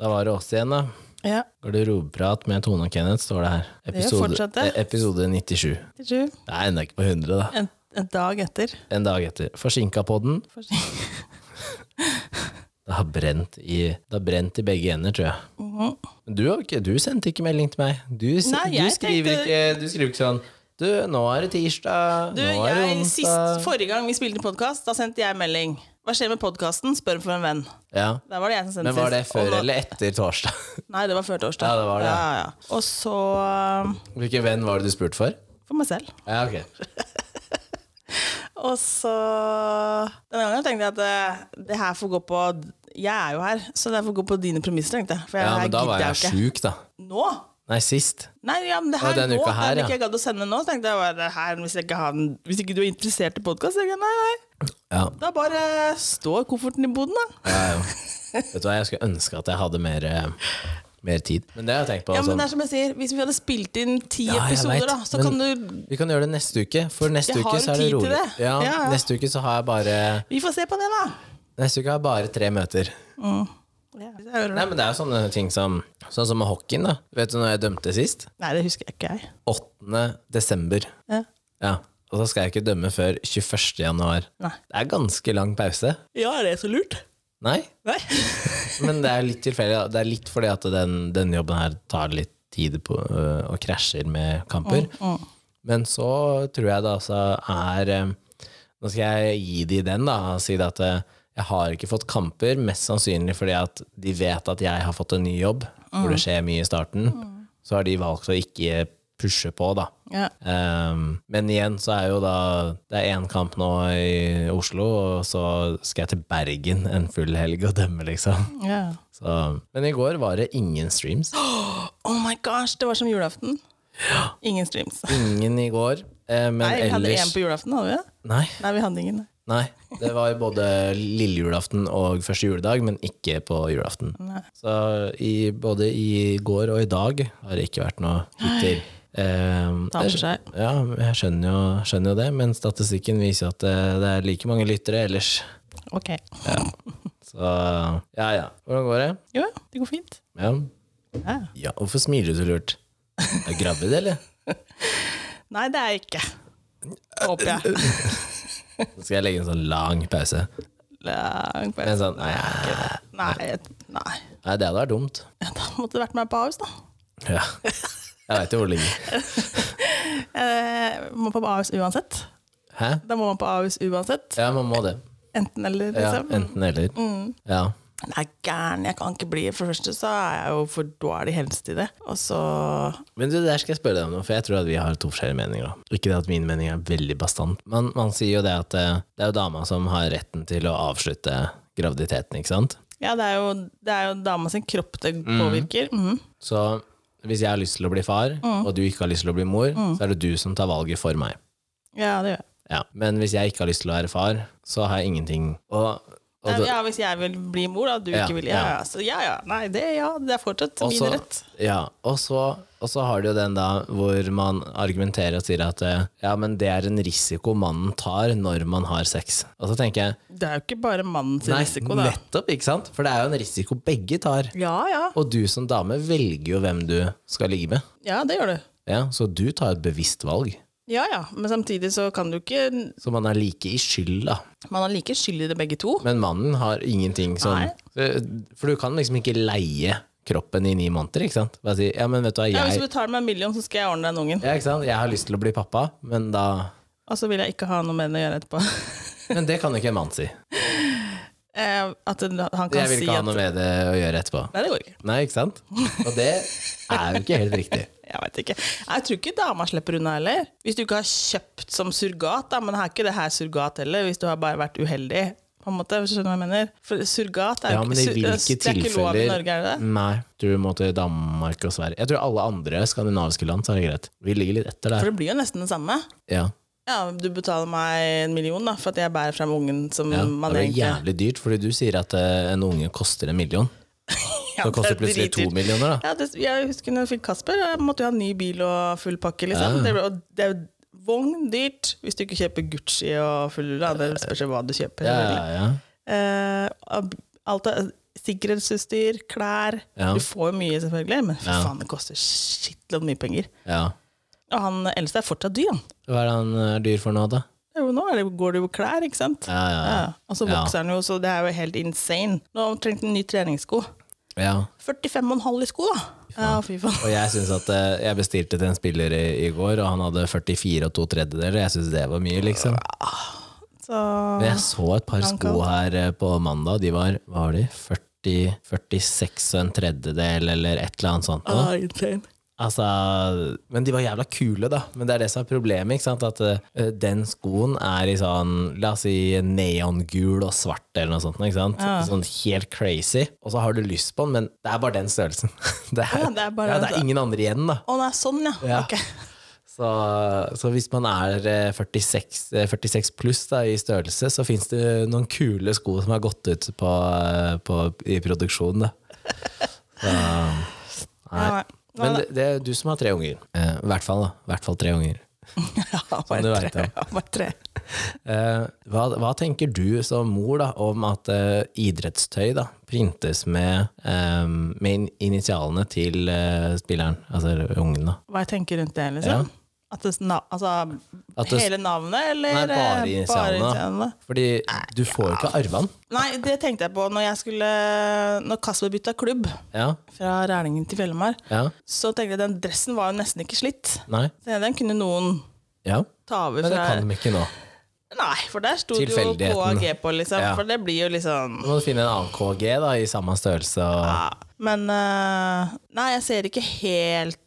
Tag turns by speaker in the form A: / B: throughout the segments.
A: Da var det oss igjen, da.
B: Ja,
A: Garderobeprat med Tone og Kenneth står det her.
B: er jo fortsatt det.
A: eh, episode 97.
B: 97.
A: Det er ennå ikke på 100, da.
B: En, en dag etter.
A: En dag etter. Forsinka podden.
B: For å si-
A: Det har brent i, det har brent i begge ender, tror jeg.
B: Mhm.
A: Men du, har ikke, du sendte ikke melding til meg. Du, s-
B: Nei,
A: du,
B: jeg
A: skriver
B: tenkte-
A: ikke, du skriver ikke sånn Du, nå er det tirsdag.
B: Du,
A: nå er det
B: jeg, sist,
A: onsdag.
B: forrige gang vi spilte podkast, da sendte jeg melding. Hva skjer med podkasten? Spør for en venn.
A: Ja.
B: Der var det jeg som sendte
A: Men var det
B: sist. Og
A: før
B: nå-
A: eller etter torsdag?
B: Nei, det var før torsdag.
A: Ja, det var det, ja.
B: Ja, ja. Og så um,
A: Hvilken venn var det du spurte for?
B: for meg selv.
A: Ja, ok.
B: Og så Denne gangen tenkte jeg at eh, det her får gå på Jeg er jo her, så det her får gå på dine premisser, tenkte jeg. For jeg,
A: Ja,
B: her
A: men da
B: gidder
A: var jeg
B: jo ikke.
A: sjuk, da.
B: Nå?
A: Nei, sist.
B: Nei, ja, men det
A: Ja,
B: her
A: denne
B: nå,
A: uka her,
B: den
A: ja.
B: ikke jeg gadd å sende nå, tenkte jeg bare her, hvis, jeg ikke har den, hvis ikke du er interessert i podkast, tenkte jeg nei, nei.
A: Ja.
B: Da bare står kofferten i boden, da.
A: Ja, ja. Vet du hva, jeg skulle ønske at jeg hadde mer, eh, mer tid. Men det har jeg tenkt på.
B: Ja, men
A: sånn-
B: det er som jeg sier, Hvis vi hadde spilt inn ti
A: Ja, jeg
B: episoder,
A: vet,
B: da, så
A: men-
B: kan du
A: Vi kan gjøre det neste uke, for neste
B: Jeg har
A: uke så er det
B: tid til
A: rolig.
B: det.
A: Ja,
B: Ja, ja.
A: Neste uke så har jeg bare
B: Vi får se på det, da.
A: Neste uke har jeg bare tre møter.
B: Ja. Jeg hører
A: Nei,
B: det.
A: men det er jo sånne ting som Sånn som med hockeyen, da. Vet du når jeg dømte sist?
B: Nei, det husker jeg ikke, jeg.
A: 8. desember.
B: Ja.
A: Ja. Og så skal jeg ikke dømme før 21. januar.
B: Nei.
A: Det er ganske lang pause.
B: Ja, er det så lurt?
A: Nei,
B: Nei.
A: men det er litt tilfeldig. da. Det er litt fordi at den, den jobben her tar litt tid på, øh, og krasjer med kamper. Men så tror jeg det altså er eh, Nå skal jeg gi de den, da, og si det at eh, jeg har ikke fått kamper, mest sannsynlig fordi at de vet at jeg har fått en ny jobb, hvor det skjer mye i starten. Så har de valgt å ikke pushe på, da.
B: Ja.
A: Ehm, men igjen så er jo da Det er én kamp nå i Oslo, og så skal jeg til Bergen en full helg og dømme, liksom.
B: ja.
A: Så, men i går var det ingen streams.
B: Oh my gosh, det var som julaften. Ingen streams.
A: Ingen i går. eh, men
B: Nei, vi hadde én
A: ellers
B: på julaften, hadde vi det?
A: Nei,
B: Nei, vi hadde ingen.
A: nei. Det var både lille julaften og første juledag, men ikke på julaften.
B: Nei.
A: Så i, både i går og i dag har det ikke vært noe hytter. Um,
B: Ta for seg.
A: Ja, jeg skjønner jo, skjønner jo det, men statistikken viser jo at det, det er like mange lyttere ellers.
B: Ok.
A: Så ja, ja. Hvordan går det?
B: Jo, det går fint.
A: Ja.
B: Ja.
A: ja hvorfor smiler du så lurt? Er du gravid, eller?
B: Nei, det er jeg ikke. Håper jeg.
A: Nå skal jeg legge en sånn lang pause.
B: Lang
A: En
B: pause.
A: sånn, nei,
B: Nei, jeg- nei.
A: nei, det hadde vært dumt.
B: Ja, Da måtte det vært meg på Ahus, da.
A: Ja. Jeg veit jo hvor det ligger.
B: Eh, må på Ahus uansett.
A: Hæ?
B: Da må man på Ahus uansett.
A: Ja, man må det.
B: Enten eller,
A: Ja,
B: liksom.
A: enten eller. Ja.
B: Nei, gæren, jeg kan ikke bli. For det første så er jeg jo for dårlig helst i det. Og så
A: Men du, der skal jeg spørre deg om noe, for jeg tror at vi har to forskjellige meninger. da. Ikke det at min mening er veldig bastant, men man sier jo det at eh, det er jo dama som har retten til å avslutte graviditeten, ikke sant?
B: Ja, det er jo, det er jo dama sin kropp det påvirker. Mhm.
A: Så hvis jeg har lyst til å bli far,
B: Mm.
A: og du ikke har lyst til å bli mor, så er det du som tar valget for meg.
B: Ja, det gjør jeg.
A: Ja. Men hvis jeg ikke har lyst til å være far, så har jeg ingenting og, og
B: Nei,
A: da-
B: ja, hvis jeg vil bli mor, da, du
A: Ja,
B: ikke vil ja,
A: ja.
B: ja. Så ja, ja. Nei, det, ja, det er fortsatt
A: Og
B: min
A: så-
B: rett.
A: Altså, Ja, og så, og så har du jo den da hvor man argumenterer og sier at eh, ja, men det er en risiko mannen tar når man har sex. Og så tenker jeg
B: Det er jo ikke bare mannens
A: nei,
B: risiko, da.
A: nettopp, ikke sant? For det er jo en risiko begge tar.
B: Ja, ja.
A: Og du som dame velger jo hvem du skal ligge med.
B: Ja, det gjør du.
A: Ja, så du tar et bevisst valg.
B: Ja, ja. Men samtidig så kan du ikke
A: Så man er like i skyld, da.
B: Man har like skyld i det begge to.
A: Men mannen har ingenting sånn For du kan liksom ikke leie kroppen i ni måneder, ikke sant? Bare si ja, men vet du hva,
B: Ja, hvis du
A: jeg,
B: betaler meg en million, så skal jeg ordne deg en ungen.
A: ja, ikke sant? jeg har lyst til å bli pappa, men da
B: Og så vil jeg ikke ha noe med det å gjøre etterpå.
A: Men det kan ikke en mann si.
B: eh, at den- han kan
A: Jeg vil
B: si
A: ikke ha
B: at
A: noe med det å gjøre etterpå.
B: Nei, det går ikke.
A: Nei, ikke sant? Og det er jo ikke helt riktig.
B: Jeg vet ikke. Jeg tror ikke dama slipper unna heller. Hvis du ikke har kjøpt som surrogat, da, men er ikke det her surrogat heller, hvis du har bare vært uheldig. På en måte, skjønner du hva jeg mener? For surrogat er
A: Ja,
B: jo
A: men i
B: sur-
A: hvilke
B: altså, Det er ikke lov i Norge, er det
A: tilfeller
B: det?
A: Nei, du må til Danmark og Sverige. Jeg tror alle andre skandinaviske land, så er det greit. Vi ligger litt etter der.
B: For det blir jo nesten det samme.
A: Ja.
B: Ja, du betaler meg en million da, for at jeg bærer frem ungen som
A: ja.
B: man
A: Det er
B: egentlig
A: jævlig dyrt, fordi du sier at eh, en unge koster en million.
B: Ja,
A: Så koster det
B: det er
A: plutselig to
B: dritdyrt.
A: millioner, da.
B: Ja, det, jeg husker når jeg fikk Kasper, da måtte jeg ha ny bil og full pakke,
A: Ah.
B: liksom. Det, ble, og det er jo vogn dyrt hvis du ikke kjøper
A: Eh,
B: Gucci og full da. Det spørs jo hva du kjøper.
A: Ja, ja, ja.
B: Eh, ab- alt er, sikkerhetsutstyr, klær.
A: Ja.
B: Du får jo mye, selvfølgelig, men fy
A: Ja.
B: faen, det koster skittlodd mye penger.
A: Ja.
B: Og han eldste er fortsatt dyr, han.
A: Hva er det han er dyr for nå, da?
B: Det er jo Nå er det, går det jo klær, ikke sant?
A: Ja, ja,
B: Ja, Og så
A: Ja.
B: vokser han jo, så det er jo helt insane. Nå har han trengt en ny treningssko.
A: ja. ja.
B: 45,5 i sko, da! Ja, fy faen.
A: Og jeg synes at eh, jeg bestilte til en spiller i, i går, og han hadde 44 og to tredjedeler. Jeg syns det var mye, liksom.
B: Så
A: Men jeg så et par sko her eh, på mandag. De var hva var de? 40, 46 og en tredjedel, eller et eller annet sånt. noe.
B: ah, insane.
A: Altså, men de var jævla kule, da. Men det er det som er problemet. ikke sant? At eh, den skoen er i sånn La oss si neongul og svart eller noe sånt. ikke sant?
B: Ah.
A: Sånn helt crazy. Og så har du lyst på den, men det er bare den størrelsen. Det er,
B: Ja, det er bare
A: ja,
B: den
A: det er ingen andre igjen, da.
B: Å nei, sånn, ja.
A: Ja.
B: Ok.
A: Så, så hvis man er eh, 46, eh, 46 pluss da, i størrelse, så fins det noen kule sko som har gått ut på, eh, på, i produksjon, da.
B: Ja, nei. Nei,
A: Men det, det er du som har tre unger. Eh, I hvert fall, da. I hvert fall tre unger.
B: Ja,
A: Som
B: bare
A: sånn du
B: tre.
A: vet, ja.
B: Ja, bare tre.
A: Eh, hva, hva tenker du som mor da, om at eh, idrettstøy da, printes med, eh, med in- initialene til eh, spilleren, altså ungen? da?
B: Hva jeg tenker rundt det, liksom? At det, s- na- altså,
A: At det,
B: hele navnet, eller
A: Nei, bare
B: eh,
A: initialene.
B: initialene?
A: fordi du får jo ikke arve den.
B: Nei, det tenkte jeg på når jeg skulle Når Kasper bytta klubb
A: Ja,
B: fra Rælingen til Fjellemar,
A: ja,
B: så tenkte jeg den dressen var jo nesten ikke slitt.
A: nei.
B: Så Den kunne noen
A: Ja,
B: ta over
A: men det
B: fra
A: kan de ikke nå.
B: Nei, for der sto det jo
A: Tilfeldigheten.
B: KAG på, liksom.
A: Ja.
B: For det blir jo liksom
A: Du må finne en annen KG da, i samme størrelse og
B: ja. Men eh, Nei, jeg ser ikke helt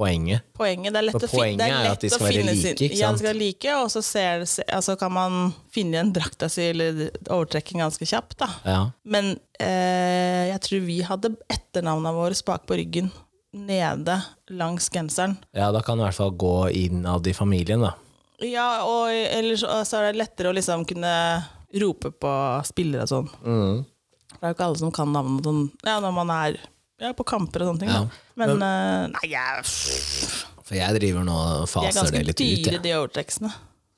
A: poenget.
B: poenget. Det er lett
A: For
B: å, fin
A: poenget
B: det
A: er
B: er
A: jo
B: lett
A: at de
B: å
A: skal være
B: finne
A: like,
B: sin-
A: ikke
B: Ja,
A: sant?
B: de skal være like, og så ser, se- altså, kan man finne igjen drakta si eller overtrekken ganske kjapt. da.
A: Ja,
B: Men eh, jeg tror vi hadde etternavna våre bak på ryggen, nede langs genseren.
A: ja da kan du i hvert fall gå innad i familien da.
B: Ja, og ellers og så er det lettere å liksom kunne rope på spillere og sånn.
A: Mm.
B: For det er jo ikke alle som kan navnet sånn, ja, når man er ja, på kamper og sånne ting.
A: Ja.
B: Da. Men, eh, nei, jeg,
A: For jeg driver nå og
B: de er
A: faser
B: ganske
A: det litt ut.
B: dyre,
A: jeg.
B: de overtreksene.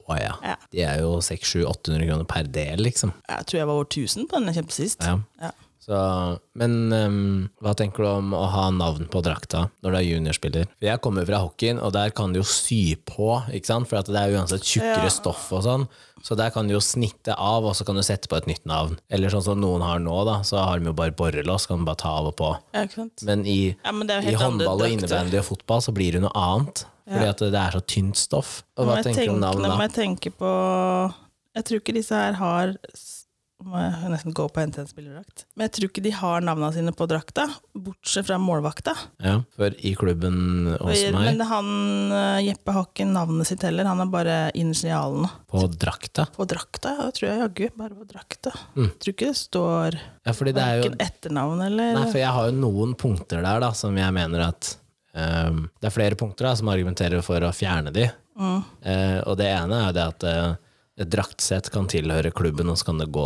A: Å, ja.
B: Ja.
A: De er jo 600-800 kroner per del liksom.
B: Jeg tror jeg var over 1000 på den jeg kjøpte sist.
A: Ja.
B: Ja.
A: Så, men ehm, hva tenker du om å ha navn på drakta når du er juniorspiller? For jeg kommer fra hockeyen, og der kan du jo sy på, ikke sant? for at det er uansett tjukkere
B: Ja.
A: stoff og sånn. Så der kan du jo snitte av, og så kan du sette på et nytt navn. Eller sånn som noen har nå, da, så har de jo bare borrelås, kan du bare ta av og på.
B: Ja, ikke sant?
A: Men i,
B: Ja, men det er jo
A: i
B: helt andre
A: håndball og
B: drakter.
A: innebandy og fotball så blir det noe annet. Fordi at det er så tynt stoff. Og hva
B: Nå må jeg
A: tenker du om
B: tenke-
A: navn
B: Nå
A: da?
B: må jeg tenke på Jeg tror ikke disse her har s- Må jeg nesten gå på og hente en spillerdrakt. Men jeg tror ikke de har navnene sine på drakta, bortsett fra målvakta.
A: Ja, for i klubben hos
B: Men
A: meg,
B: det- han eh, Jeppe har ikke navnet sitt heller, han har bare initialene.
A: på drakta
B: På drakta, ja, tror jeg jaggu. Bare på drakta.
A: Mm.
B: Tror ikke det står
A: Ja, fordi det er jo
B: verken etternavn eller
A: Nei, for jeg har jo noen punkter der da, som jeg mener at ehm, Det er flere punkter da, som argumenterer for å fjerne de.
B: Mm.
A: Eh, og det ene er jo det at eh, et draktsett kan tilhøre klubben, og så kan det gå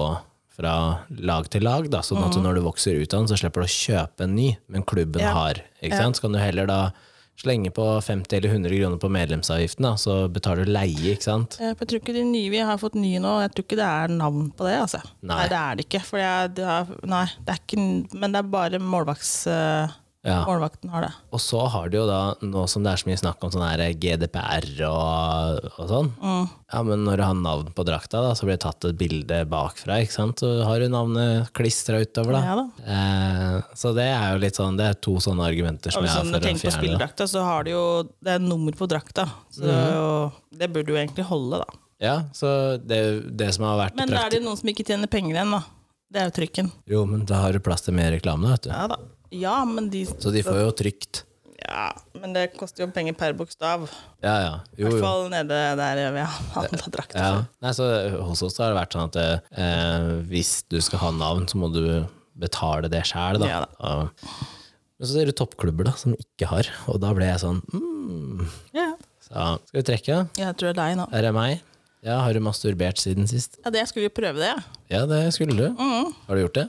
A: fra lag til lag. Da, sånn at når du vokser ut av den, så slipper du å kjøpe en ny, men klubben
B: Mm. Ja.
A: har. Ikke sant? Så kan du heller da slenge på 50 eller 100 kroner på medlemsavgiften, da, så betaler du leie, ikke sant?
B: Eh, for Jeg tror ikke de nye vi har fått nye nå, jeg tror ikke det er navn på det. altså.
A: Nei.
B: det er det ikke. For jeg, det er, nei, det er ikke men det er bare målvakts, eh,
A: Ja.
B: målvakten har det.
A: Og så har du jo da, nå som det er så mye snakk om sånn her GDPR og, og sånn,
B: Mm.
A: ja, men når du har navn på drakta, da, så blir det tatt et bilde bakfra, ikke sant? Så har du navnet klistra utover, da.
B: Ja, da.
A: Eh, så det er jo litt sånn, det er to sånne argumenter som
B: Og hvis
A: jeg har
B: du
A: for å
B: tenker på
A: fjerne det.
B: spilledrakta, så har du jo det er nummer på drakta. Så det, er
A: Mhm.
B: jo- det burde jo egentlig holde, da.
A: Ja, så det, det som har vært
B: Men da er
A: praktisk...
B: det noen som ikke tjener penger igjen, da. Det er jo trykken.
A: Jo, men da har du plass til mer reklame, vet du.
B: Ja da. Ja, men de
A: Så de får jo trygt.
B: Ja, men det koster jo penger per bokstav.
A: Ja, ja.
B: I
A: Jo,
B: hvert
A: jo.
B: fall nede der vi har handla drakter.
A: Ja.
B: før.
A: Nei, så hos oss har det vært sånn at eh, hvis du skal ha navn, så må du betale det sjæl, da.
B: Ja da.
A: Ja. Men så ser du toppklubber da, som ikke har, og da ble jeg sånn mm.
B: Ja.
A: så, Skal vi trekke?
B: Jeg tror det er deg nå.
A: Er det meg? Ja, har du masturbert siden sist?
B: Ja, det jeg skulle jo prøve det, jeg.
A: Ja, det skulle du. Har du gjort det?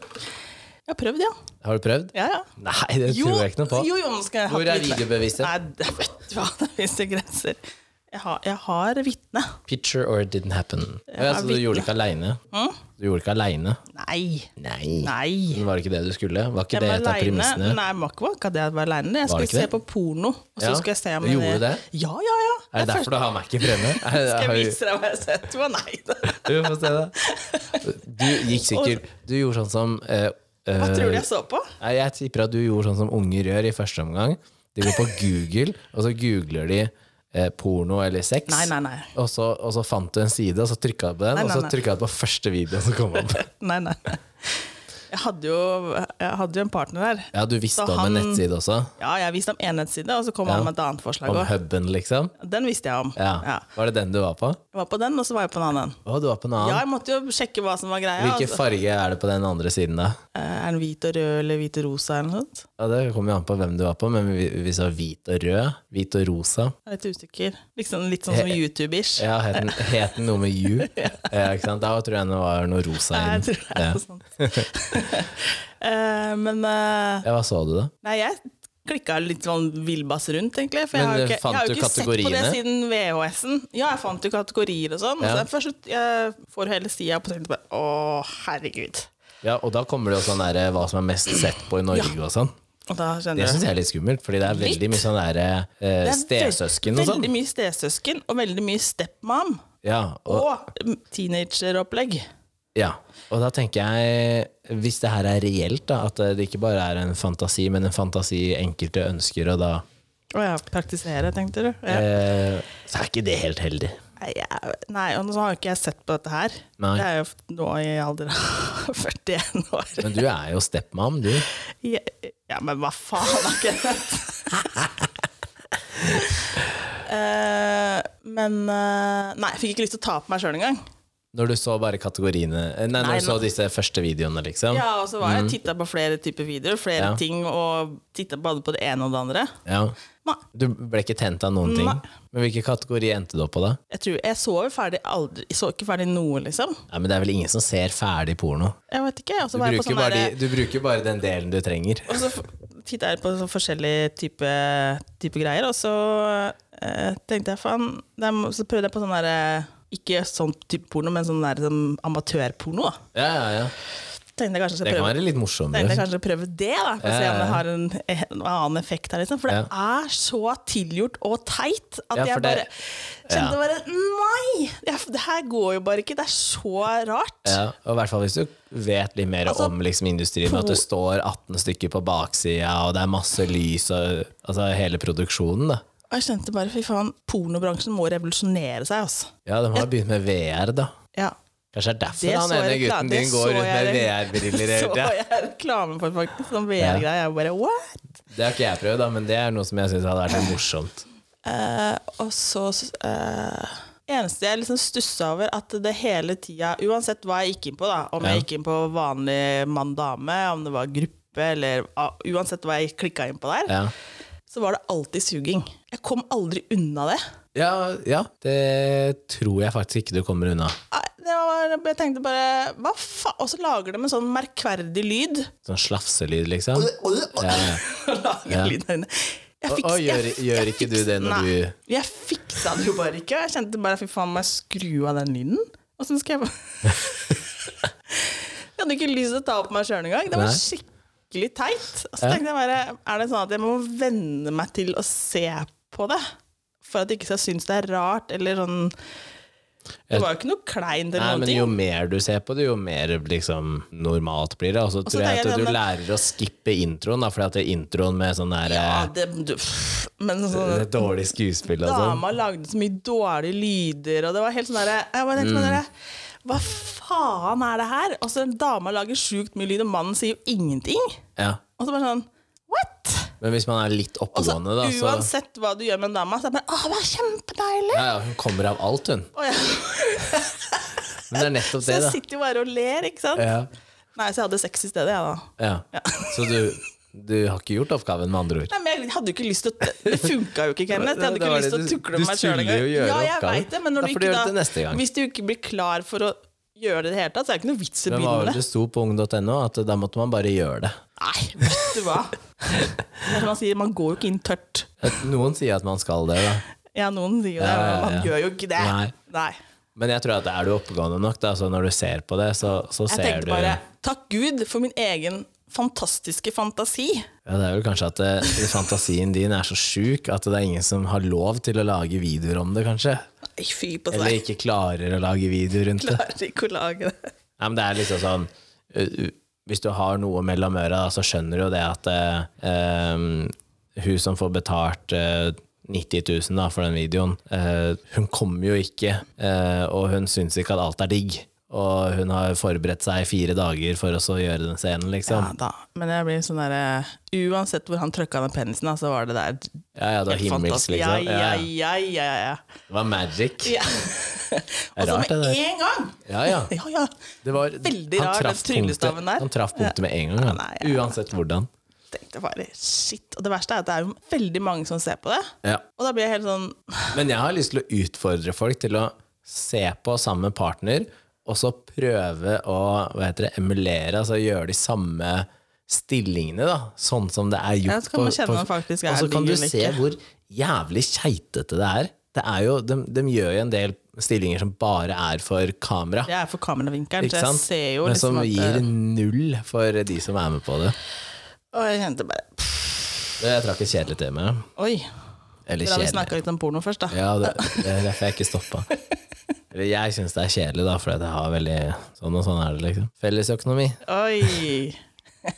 B: Jeg har prøvd, ja.
A: Har du prøvd?
B: Mm. ja, ja.
A: Nei, det tror jeg ikke noe på.
B: Jo, jo, nå skal jeg ha
A: Hvor er
B: litt-
A: videobeviset?
B: Nei, det vet du hva, det finnes det grenser. Jeg har, jeg har vitne.
A: Picture or it didn't happen. Ja,
B: er
A: så du
B: vitne.
A: gjorde det ikke aleine? Du gjorde det ikke aleine?
B: Nei.
A: Nei.
B: Nei.
A: Men Var det ikke det du skulle? Var ikke
B: Jeg
A: det
B: var
A: et av
B: alene.
A: premissene?
B: Nei, det var ikke- var ikke det at jeg var alene. Jeg
A: Var det
B: skulle
A: ikke
B: se
A: det?
B: på porno. Og så
A: Ja.
B: skulle jeg se om
A: Gjorde du det?
B: Ja, ja, ja.
A: Er det derfor du har Mac-en fremme? Er det- har
B: Skal jeg
A: du-
B: vise deg hva jeg har sett på? Nei da.
A: Du får se det. Du gikk sikkert Du gjorde sånn som eh, eh,
B: Hva tror du jeg så på?
A: Nei, Jeg tipper at du gjorde sånn som unger gjør i første omgang. De går på Google, og så googler de eh, porno eller sex.
B: Nei, nei, nei.
A: Og, så, og så fant du en side, og så trykka du på den,
B: Nei, nei,
A: og så
B: nei.
A: trykka du på første video som kom opp.
B: nei, nei. Jeg hadde jo, jeg hadde jo en partner der.
A: Ja, du visste
B: Så
A: om
B: han-
A: en nettside også?
B: Ja, jeg visste om en nettside, og så kom han med et annet forslag
A: Om
B: òg.
A: huben, liksom?
B: Den visste jeg om.
A: Ja.
B: Ja.
A: Var det den du var på?
B: Jeg var på den, og så var jeg på en annen.
A: Å, du var på en
B: Ja,
A: annen.
B: jeg måtte jo sjekke hva som var greia.
A: Hvilken
B: altså.
A: farge er det på den andre siden, da?
B: Eh, Er den hvit og rød eller hvit og rosa eller noe sånt?
A: Ja, det kommer jo an på hvem du var på, men vi, vi sa hvit og rød. Hvit og rosa.
B: Jeg er litt usikker. Liksom litt sånn som
A: Eh,
B: YouTube-ish.
A: Ja, het den, het den noe med you? ja, ikke sant? Da tror jeg det var noe rosa
B: Nei,
A: i
B: jeg
A: den.
B: tror det er noe sånt. Eh, men eh,
A: Ja, hva så du, da?
B: nei, jeg klikka litt sånn villbass rundt, egentlig. For jeg
A: Men,
B: har
A: eh,
B: jo ikke, jeg
A: fant
B: har
A: du
B: jo ikke sett på det
A: kategoriene?
B: siden VHS-en. Ja, jeg fant jo kategorier og sånn.
A: Ja.
B: Så jeg først jeg får hele sida på tenkte bare Å, herregud.
A: Ja, og da kommer det jo sånn der, hva som er mest sett på i Norge og sånn.
B: Og da
A: Det
B: skjønner
A: syns jeg er litt skummelt, fordi det er veldig mye sånn derre eh, stesøsken og sånn.
B: Veldig mye stesøsken, og veldig mye stepmom.
A: Ja, og,
B: Og mm, teenageropplegg.
A: ja. og da tenker jeg, hvis det her er reelt, da, at eh, det ikke bare er en fantasi, men en fantasi enkelte ønsker, og da
B: Å ja, praktisere, tenkte du. Ja.
A: eh, Så er ikke det helt heldig.
B: Nei, jeg, nei, og så har jo ikke jeg sett på dette her.
A: Nei.
B: Det er jo nå i alder av 41 år.
A: Men du er jo stepmom, du.
B: Ja, ja, men hva faen har ikke jeg sett? Eh, men eh, Nei, jeg fikk ikke lyst til å ta på meg sjøl engang.
A: Når du så bare kategoriene eh, Nei,
B: Nei,
A: når du så
B: nå-
A: disse første videoene, liksom.
B: Ja, og så var jeg titta på flere typer videoer,
A: Ja.
B: flere ting, og titta både på det ene og det andre.
A: Ja.
B: Nei,
A: Du ble ikke tent av noen ting?
B: Nei.
A: Men hvilken kategori endte du opp på, da?
B: jeg, tror, jeg så jo ferdig aldri Jeg så ikke ferdig noe, liksom.
A: Nei, men Det er vel ingen som ser ferdig porno?
B: Jeg vet ikke. Og så
A: Du
B: var jeg på
A: bruker,
B: sånn
A: bare,
B: derre-
A: de, du bruker bare den delen du trenger.
B: Og så titta jeg på sånn forskjellige type, type greier, og så eh, tenkte jeg faen det er- Så prøvde jeg på sånn derre Ikke sånn type porno, men sånn der sånn amatørporno. da.
A: Ja, ja, ja.
B: Tenkte jeg
A: Det
B: kanskje jeg skal
A: kan
B: prøve
A: være litt
B: Tenkte jeg
A: morsommere.
B: kanskje å prøve det, da, for å
A: Ja,
B: se
A: ja,
B: om det
A: ja.
B: har en, eh, en annen effekt her. Liksom. For det er så tilgjort og teit at
A: Ja, for
B: jeg bare
A: det-
B: kjente bare Nei! Det, det her går jo bare ikke. Det er så rart.
A: Ja, og i hvert fall hvis du vet litt mer
B: Altså,
A: om liksom, industrien, at det står 18 stykker på baksida, og det er masse lys og altså, hele produksjonen, da.
B: Og jeg kjente bare fy faen, pornobransjen må revolusjonere seg, altså.
A: Ja, de har begynt med VR, da.
B: Ja.
A: Kanskje det er derfor
B: Det
A: han
B: så
A: ene
B: jeg
A: gutten din
B: reklame- det
A: går
B: så
A: rundt med
B: jeg
A: VR-briller
B: Så
A: hele tida.
B: jeg reklame for faktisk, sånn VR-greie. Jeg bare what?
A: Det har ikke jeg prøvd, da, men det er noe som jeg syns hadde vært litt morsomt.
B: Eh, og så eh, Eneste jeg liksom stussa over, at det hele tida, uansett hva jeg gikk inn på, da, om
A: Ja.
B: jeg gikk inn på vanlig mann-dame, om det var gruppe, eller ah, uansett hva jeg klikka inn på der,
A: Ja,
B: så var det alltid suging. Jeg kom aldri unna det.
A: ja, ja det tror jeg faktisk ikke du kommer unna.
B: Nei, det var, jeg tenkte bare Hva faen? Og så lager de en sånn merkverdig lyd.
A: Sånn slafselyd, liksom. Ja, ja.
B: Lager lyd der inne. Jeg
A: Og,
B: fikk-
A: og
B: jeg
A: gjør, gjør ikke du det når
B: Nei,
A: du
B: jeg fiksa det jo bare ikke. Jeg kjente bare fy faen, må jeg skru av den lyden? Åssen skal jeg Jeg hadde ikke lyst til å ta opp meg sjøl engang. Det var
A: Nei.
B: skikkelig teit. Og så
A: Ja.
B: tenkte jeg bare, er det sånn at jeg må venne meg til å se på det? For at jeg ikke skal synes det er rart, eller sånn Det var jo ikke noe kleint
A: Nei,
B: eller
A: men
B: noen
A: jo
B: ting.
A: mer du ser på det, jo mer liksom, normalt blir det. Og så tror jeg
B: tenker
A: at
B: jeg
A: du
B: sånn-
A: lærer å skippe introen, da, fordi at det er introen med sånn der
B: Ja,
A: eh,
B: det, du, pff, men sånn
A: dårlig skuespill og sånn.
B: Dama lagde så mye dårlige lyder, og det var helt sånn derre jeg bare tenkte
A: Mm.
B: på dere, Hva faen er det her? Og så dama lager sjukt mye lyd, og mannen sier jo ingenting.
A: Ja.
B: Og så bare sånn What?!
A: Men hvis man er litt
B: Og så
A: oppegående, da, så
B: uansett hva du gjør med en dame, så er det bare Å, det er kjempedeilig!
A: ja, ja, Hun kommer av alt, hun.
B: Og jeg,
A: Men det er nettopp
B: så
A: det,
B: jeg
A: da.
B: sitter jo bare og ler, ikke sant?
A: Ja,
B: Nei, så jeg hadde sex i stedet, jeg, da.
A: ja. Så du, du har ikke gjort oppgaven, med andre ord.
B: Nei, men jeg hadde jo ikke lyst til å Det funka jo ikke, Kenneth. Jeg hadde
A: Det
B: ikke
A: var
B: lyst
A: det
B: til å
A: du-
B: tukle
A: du
B: med meg sjøl
A: skulle
B: engang.
A: jo gjøre
B: Ja, jeg
A: oppgaven.
B: vet det, men når
A: Da
B: du
A: får du
B: ikke
A: gjøre det neste
B: da
A: gang.
B: Hvis du ikke blir klar for å gjøre det i det hele tatt, så er det ikke noe vits i å
A: Men hva
B: begynne
A: var det
B: med
A: det sto på ung.no? At da måtte man bare gjøre det.
B: Nei, vet du hva. Det er som man sier, man går jo ikke inn tørt.
A: At Noen sier at man skal det, da.
B: Ja, noen sier jo det,
A: Ja, ja,
B: men man
A: ja.
B: gjør jo ikke det.
A: Nei. Men jeg tror at er du oppegående nok, da, så når du ser på det, så, så
B: Jeg
A: ser
B: tenkte
A: du
B: bare takk Gud for min egen fantastiske fantasi.
A: Ja, det er vel kanskje at eh, fantasien din er så sjuk at det er ingen som har lov til å lage videoer om det, kanskje.
B: Altså, Nei, fy på
A: Eller
B: seg.
A: ikke klarer å lage videoer rundt det.
B: Klarer ikke å lage det.
A: Nei, men det er liksom sånn uh, uh, Hvis du har noe mellom øra, da, så skjønner du jo det at eh, ehm, hun som får betalt eh, 90 000 da, for den videoen, eh, hun kommer jo ikke, eh, og hun syns ikke at alt er digg. Og hun har forberedt seg i fire dager for å så gjøre den scenen, liksom.
B: Ja da, men jeg blir sånn derre Uansett hvor han trøkka den penisen, da, så var det der
A: Ja, ja, det var
B: helt
A: himmelsk,
B: fantastisk.
A: liksom.
B: Ja,
A: Ja,
B: ja,
A: ja.
B: ja, ja, ja.
A: Det var magic.
B: ja. Og så
A: rart, det
B: med
A: der.
B: en gang!
A: Ja, ja.
B: Ja, ja.
A: Det var,
B: Veldig
A: han
B: rar,
A: traff
B: den tryllestaven
A: punktet-
B: der.
A: Han traff punktet med en gang, han.
B: Nei, ja, ja.
A: uansett hvordan.
B: Tenkte bare shit. Og det verste er at det er jo veldig mange som ser på det.
A: Ja.
B: Og da blir jeg helt sånn
A: Men jeg har lyst til å utfordre folk til å se på samme partner, og så prøve å hva heter det, emulere, altså gjøre de samme stillingene, da, sånn som det er gjort.
B: Ja, så kan man kjenne om det faktisk er
A: og så kan du
B: digg eller
A: se
B: ikke.
A: hvor jævlig keitete det er. Det er jo, de, de gjør jo en del stillinger som bare er for kamera.
B: Jeg er for kameravinkelen,
A: Ikke
B: så jeg
A: sant?
B: ser jo
A: Men
B: liksom
A: som
B: at
A: gir null for de som er med på det.
B: Og jeg kjente bare pff,
A: Det jeg trakk et kjedelig tema.
B: Oi.
A: Eller
B: Da har vi
A: kjedelig.
B: snakka litt om porno først, da.
A: Ja, det, det er derfor jeg ikke stoppa. Eller jeg syns det er kjedelig, da, fordi jeg har veldig Sånn og sånn er det, liksom. Fellesøkonomi.
B: Oi.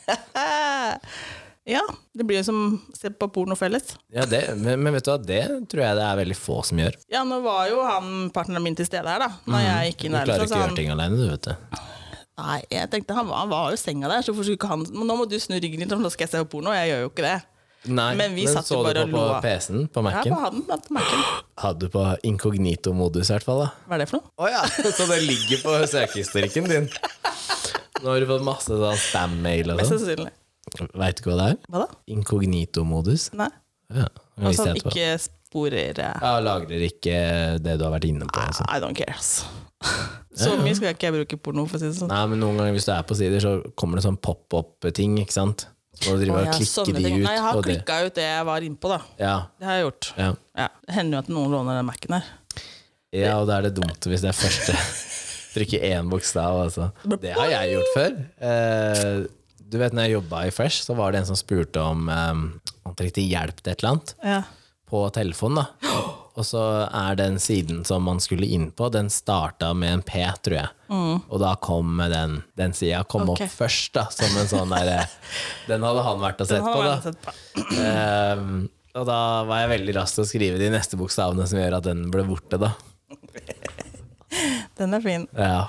B: ja. Det blir jo som å se på porno felles.
A: Ja, det, men, men vet du hva, det tror jeg det er veldig få som gjør.
B: Ja, nå var jo han partneren min til stede her, da. Når jeg gikk
A: Mhm. Du
B: inn der. liksom,
A: klarer
B: så
A: ikke
B: sa
A: å
B: han-
A: gjøre ting alene, du, vet du.
B: Nei, jeg tenkte han var, han var jo i senga der, så hvorfor skulle ikke han Men nå må du snu ryggen litt, for nå skal jeg se på porno. og Jeg gjør jo ikke det.
A: Nei,
B: Men vi satt jo
A: så du
B: bare
A: på,
B: og
A: på
B: lo av-
A: PC-en, på
B: Her
A: Mac-en?
B: på han, at Mac-en.
A: Hadde du på inkognito-modus, i hvert fall? da
B: Hva er det for noe?
A: Å ja! Så det ligger på søkehistorikken din. Nå har du fått masse sånn spam-mail og
B: Mest
A: sånn.
B: sannsynlig.
A: Veit du ikke hva det er?
B: Hva da?
A: Inkognito-modus.
B: Nei.
A: Ja, det
B: Altså
A: visste
B: han
A: jeg etterpå.
B: ikke sporer eh,
A: Ja, lagrer ikke det du har vært inne på. og sånn.
B: I don't care, ass. Så mye skal jeg ikke bruke porno, for å si det sånn.
A: Nei, men noen ganger hvis du er på sider, så kommer det sånn pop-up-ting, ikke sant? Så må du drive
B: Å,
A: og
B: ja,
A: klikke
B: sånne
A: de
B: ting.
A: ut.
B: Nei, jeg har
A: og det-
B: klikka ut det jeg var innpå, da.
A: Ja,
B: Det har jeg gjort.
A: ja.
B: Ja. Det hender jo at noen låner den Mac-en her.
A: ja, og da er det dumt hvis det er første. Trykke én bokstav, altså. Det har jeg gjort før. Eh, du vet, når jeg jobba i Fresh, så var det en som spurte om eh, han trengte hjelp til et eller annet.
B: Ja.
A: på telefonen. da. Og så er den siden som man skulle inn på, den starta med en P, tror jeg. Og da kom den, den sida kom
B: Mm. Ok.
A: opp først, da, som en sånn derre Den hadde han vært og sett
B: Han
A: på,
B: har
A: da.
B: vært sett på.
A: Ehm, og da var jeg veldig rask til å skrive de neste bokstavene som gjør at den ble borte, da.
B: Den er fin.
A: Ja,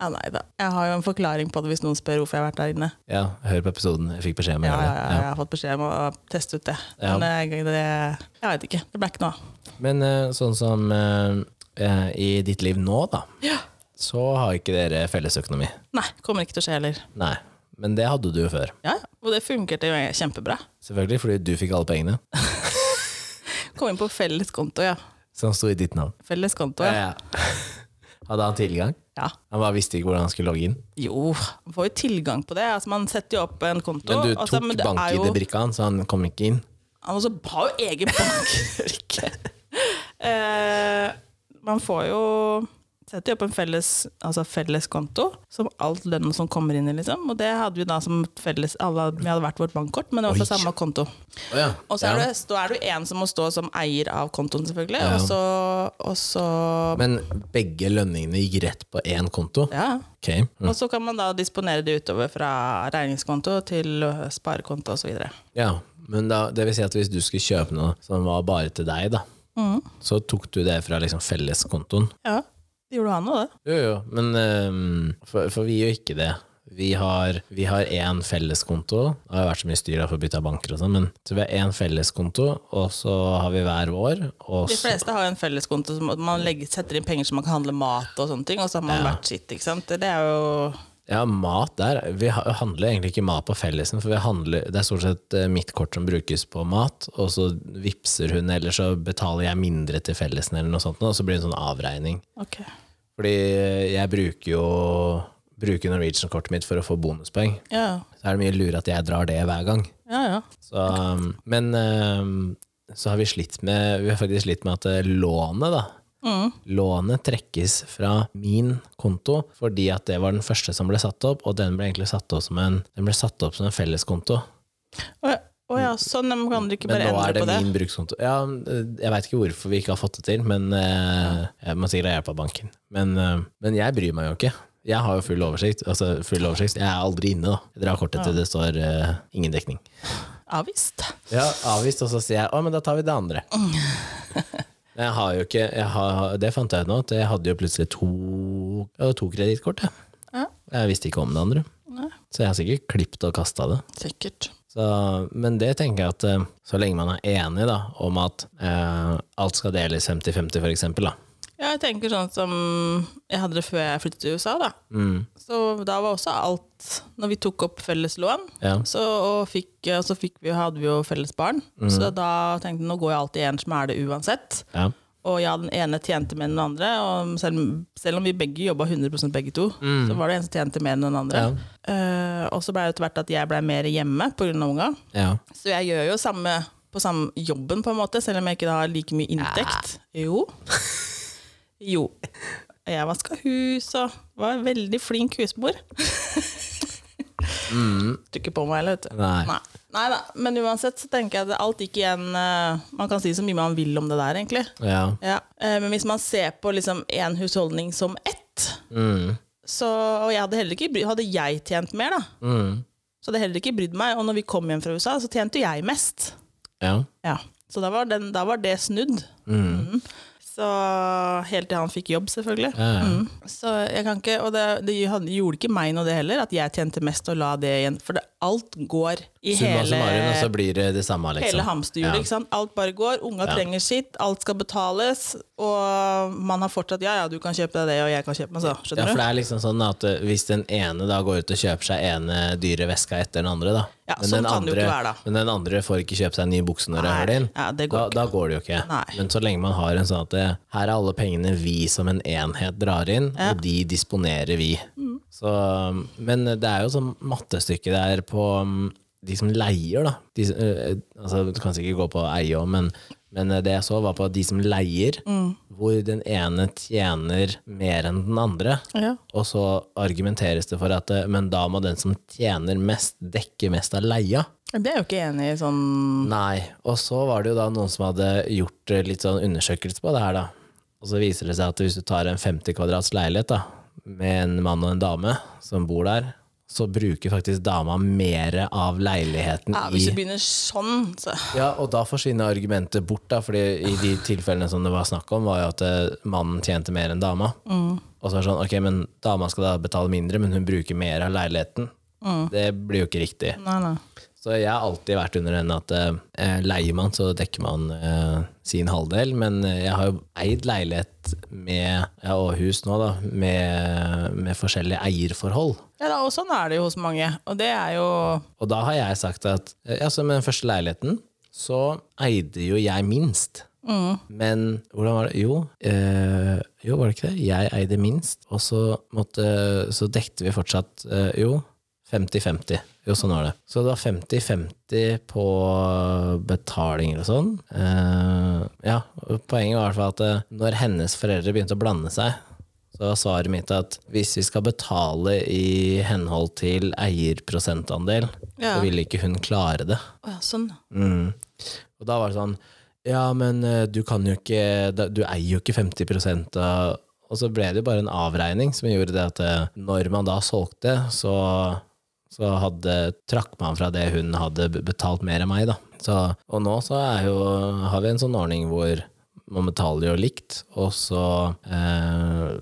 B: Ja, nei da. Jeg har jo en forklaring på det hvis noen spør hvorfor jeg har vært der inne.
A: ja hør på episoden. Jeg fikk beskjed om å
B: Ja, ja,
A: gjøre
B: ja,
A: det.
B: jeg har fått beskjed om å teste ut det.
A: Ja.
B: Men jeg, det, jeg vet ikke. Det ble ikke noe av.
A: Ja. Men eh, sånn som eh, eh, i ditt liv nå, da, så har ikke dere fellesøkonomi.
B: Nei, kommer ikke til å skje heller.
A: Nei. Men det hadde du jo før.
B: Ja, og det funkerte jo kjempebra.
A: Selvfølgelig, fordi du fikk alle pengene.
B: Kom inn på felles konto, ja.
A: Som sto i ditt navn.
B: Felles konto, ja.
A: Hadde han tilgang?
B: ja.
A: Han bare visste ikke hvordan han skulle logge inn.
B: Jo, man får jo tilgang på det. Altså, man setter jo opp en konto.
A: Men du tok
B: og så- altså, men det er jo-
A: bank-ID-brikka hans, så han kom ikke inn.
B: Han også har jo egen bank. eh, man får jo setter jo opp en felles, altså felles konto, som alt lønnen som kommer inn i. liksom. Og det hadde vi da som et felles alle, Vi hadde hvert vårt bankkort, men det var
A: Oi.
B: på samme konto.
A: Å ja.
B: Og så er,
A: Ja.
B: det, så er det jo en som må stå som eier av kontoen, selvfølgelig.
A: Ja.
B: Og så, og så
A: Men begge lønningene gikk rett på én konto?
B: ja.
A: Ok. Mm.
B: Og så kan man da disponere det utover fra regningskonto til øh, sparekonto osv.
A: Ja. Men da, det vil si at hvis du skulle kjøpe noe som var bare til deg, da,
B: Mm.
A: så tok du det fra liksom felleskontoen?
B: Ja, det gjorde han òg, det.
A: Jo, jo, men ehm, for, for vi gjør ikke det. Vi har, vi har én felleskonto. Det har jo vært så mye styr da for å bytte av banker og sånn, men så vi har én felleskonto, og så har vi hver vår. Og
B: De
A: så,
B: fleste har jo en felleskonto som at man legger, setter inn penger så man kan handle mat og sånne ting, og så har man hvert sitt, ikke sant. Det er jo
A: ja, mat der Vi ha- handler egentlig ikke mat på fellesen, for vi handler, det er stort sett eh, mitt kort som brukes på mat, og så vipser hun, eller så betaler jeg mindre til fellesen, eller noe sånt, og så blir det en sånn avregning.
B: Ok.
A: Fordi eh, jeg bruker jo bruker Norwegian-kortet mitt for å få bonuspoeng.
B: Ja,
A: Så er det mye lurere at jeg drar det hver gang.
B: ja. ja.
A: Så, um, men um, så har vi slitt med Vi har faktisk slitt med at eh, lånet, da
B: Mm.
A: Lånet trekkes fra min konto fordi at det var den første som ble satt opp, og den ble egentlig satt opp som en, den ble satt opp som en felleskonto.
B: Å ja, å ja, sånn men kan du ikke
A: Men
B: bare
A: nå er
B: endre
A: det
B: på det?
A: min brukskonto. Ja, jeg veit ikke hvorfor vi ikke har fått det til, men eh, jeg må sikkert ha hjelp av banken. Men, eh, men jeg bryr meg jo ikke. Jeg har jo full oversikt. Altså, full oversikt. Jeg er aldri inne, da. Jeg drar kortet til det står eh, 'ingen dekning'.
B: Avvist.
A: Ja, avvist, og så sier jeg 'å, men da tar vi det andre'. Men jeg har jo ikke jeg har, Det fant jeg ut nå, at jeg hadde jo plutselig to, ja, to kredittkort. jeg.
B: Ja.
A: Jeg visste ikke om det andre.
B: Nei.
A: Så jeg har sikkert klippet og kasta det.
B: Sikkert.
A: Så, men det tenker jeg at eh, så lenge man er enig da, om at eh, alt skal deles 50-50 for eksempel, da.
B: Ja, jeg tenker sånn som jeg hadde det før jeg flyttet til USA, da.
A: Mm,
B: Så da var også alt Når vi tok opp felles lån,
A: ja.
B: så, og fikk, og så fikk vi, hadde vi jo felles barn.
A: Mm.
B: Så da tenkte jeg nå går jeg alltid en som er det uansett.
A: Ja.
B: Og ja, den ene tjente mer enn den andre. Og selv, selv om vi begge jobba 100 begge to, så var det en som tjente mer enn den andre. Eh, og så ble det etter hvert at jeg ble mer hjemme pga. unga.
A: Ja.
B: Så jeg gjør jo samme på samme jobben, på en måte, selv om jeg ikke da har like mye inntekt. Jo. Jo. Jeg vaska hus og var en veldig flink husmor. Trykker på meg, eller, vet du.
A: Nei.
B: Nei. Nei da. Men uansett så tenker jeg at alt gikk igjen. eh, Man kan si så mye man vil om det der, egentlig.
A: Ja.
B: Ja. Eh, Men hvis man ser på liksom én husholdning som ett,
A: Mm,
B: så, og jeg hadde, heller ikke, bry- hadde jeg tjent mer, da,
A: mm,
B: så hadde jeg heller ikke brydd meg. Og når vi kom hjem fra USA, så tjente jo jeg mest.
A: ja. Mm.
B: Ja. Så da var, den, da var det snudd. Mhm. Så Helt til han fikk jobb, selvfølgelig.
A: Ja, ja.
B: Mhm. Så jeg kan ikke, Og det, det hadde- gjorde ikke meg noe, det heller, at jeg tjente mest og la det igjen. For det, alt går i
A: Summa
B: hele
A: summarum, altså. og så blir det det samme, liksom.
B: Hele hamsterhjulet.
A: Ja.
B: ikke sant? Alt bare går. Unga trenger sitt, alt skal betales. Og man har fortsatt 'ja ja, du kan kjøpe deg det, og jeg kan kjøpe meg så'.
A: Ja,
B: Skjønner
A: for
B: du?
A: det er liksom sånn at eh, hvis den ene da går ut og kjøper seg ene dyre veska etter den andre, da
B: Ja, sånn
A: den
B: kan det jo ikke være, da.
A: Men den andre får ikke kjøpe seg en ny bukse når hun
B: Nei,
A: er din.
B: ja, det går
A: da,
B: ikke.
A: da går det jo ikke.
B: Nei.
A: Men så lenge man har en sånn at det, her er alle pengene vi som en enhet drar inn, og de disponerer vi. Så, um, men det er jo sånn mattestykke der på mm, de som leier, da. De, som- eh, altså, du kan sikkert gå på eie òg, men men eh, det jeg så, var på de som leier, hvor den ene tjener mer enn den andre.
B: Ja.
A: Og så argumenteres det for at eh, men da må den som tjener mest, dekke mest av leia.
B: Det er jeg jo ikke enig i sånn
A: Nei. Og så var det jo da noen som hadde gjort eh, litt sånn undersøkelse på det her, da. Og så viser det seg at hvis du tar en 50 kvadrats leilighet da, med en mann og en dame som bor der, så bruker faktisk dama mer av leiligheten
B: ja,
A: i
B: Hvis du begynner sånn, så
A: ja, og da forsvinner argumentet bort, da, fordi i de tilfellene som det var snakk om, var jo at eh, mannen tjente mer enn dama.
B: Mm.
A: Og så er det sånn, ok, men dama skal da betale mindre, men hun bruker mer av leiligheten.
B: Mm.
A: Det blir jo ikke riktig.
B: Nei, nei.
A: Så jeg har alltid vært under den at eh, leier man, så dekker man eh, sin halvdel. Men eh, jeg har jo eid leilighet med, ja, og hus nå, da, med, med forskjellige eierforhold.
B: Ja, da, og sånn er det jo hos mange. Og det er jo
A: Og da har jeg sagt at eh, altså med den første leiligheten så eide jo jeg minst. Men hvordan var det? Jo, eh, jo, var det ikke det? Jeg eide minst, og så, måtte, så dekte vi fortsatt eh, Jo, 50-50. Jo, sånn var det. Så det var 50-50 på betalinger og sånn. Eh, ja, og poenget var i hvert fall at eh, når hennes foreldre begynte å blande seg, så var svaret mitt at hvis vi skal betale i henhold til eierprosentandel,
B: Ja.
A: så vil ikke hun klare det.
B: Å ja, sånn.
A: Mm. Og da var det sånn Ja, men eh, du kan jo ikke da- Du eier jo ikke 50 av Og så ble det jo bare en avregning som gjorde det at eh, når man da solgte, så, så hadde, trakk man fra det hun hadde b- betalt mer enn meg, da. Så, og nå så er jo, har vi en sånn ordning hvor man betaler jo likt, og så eh,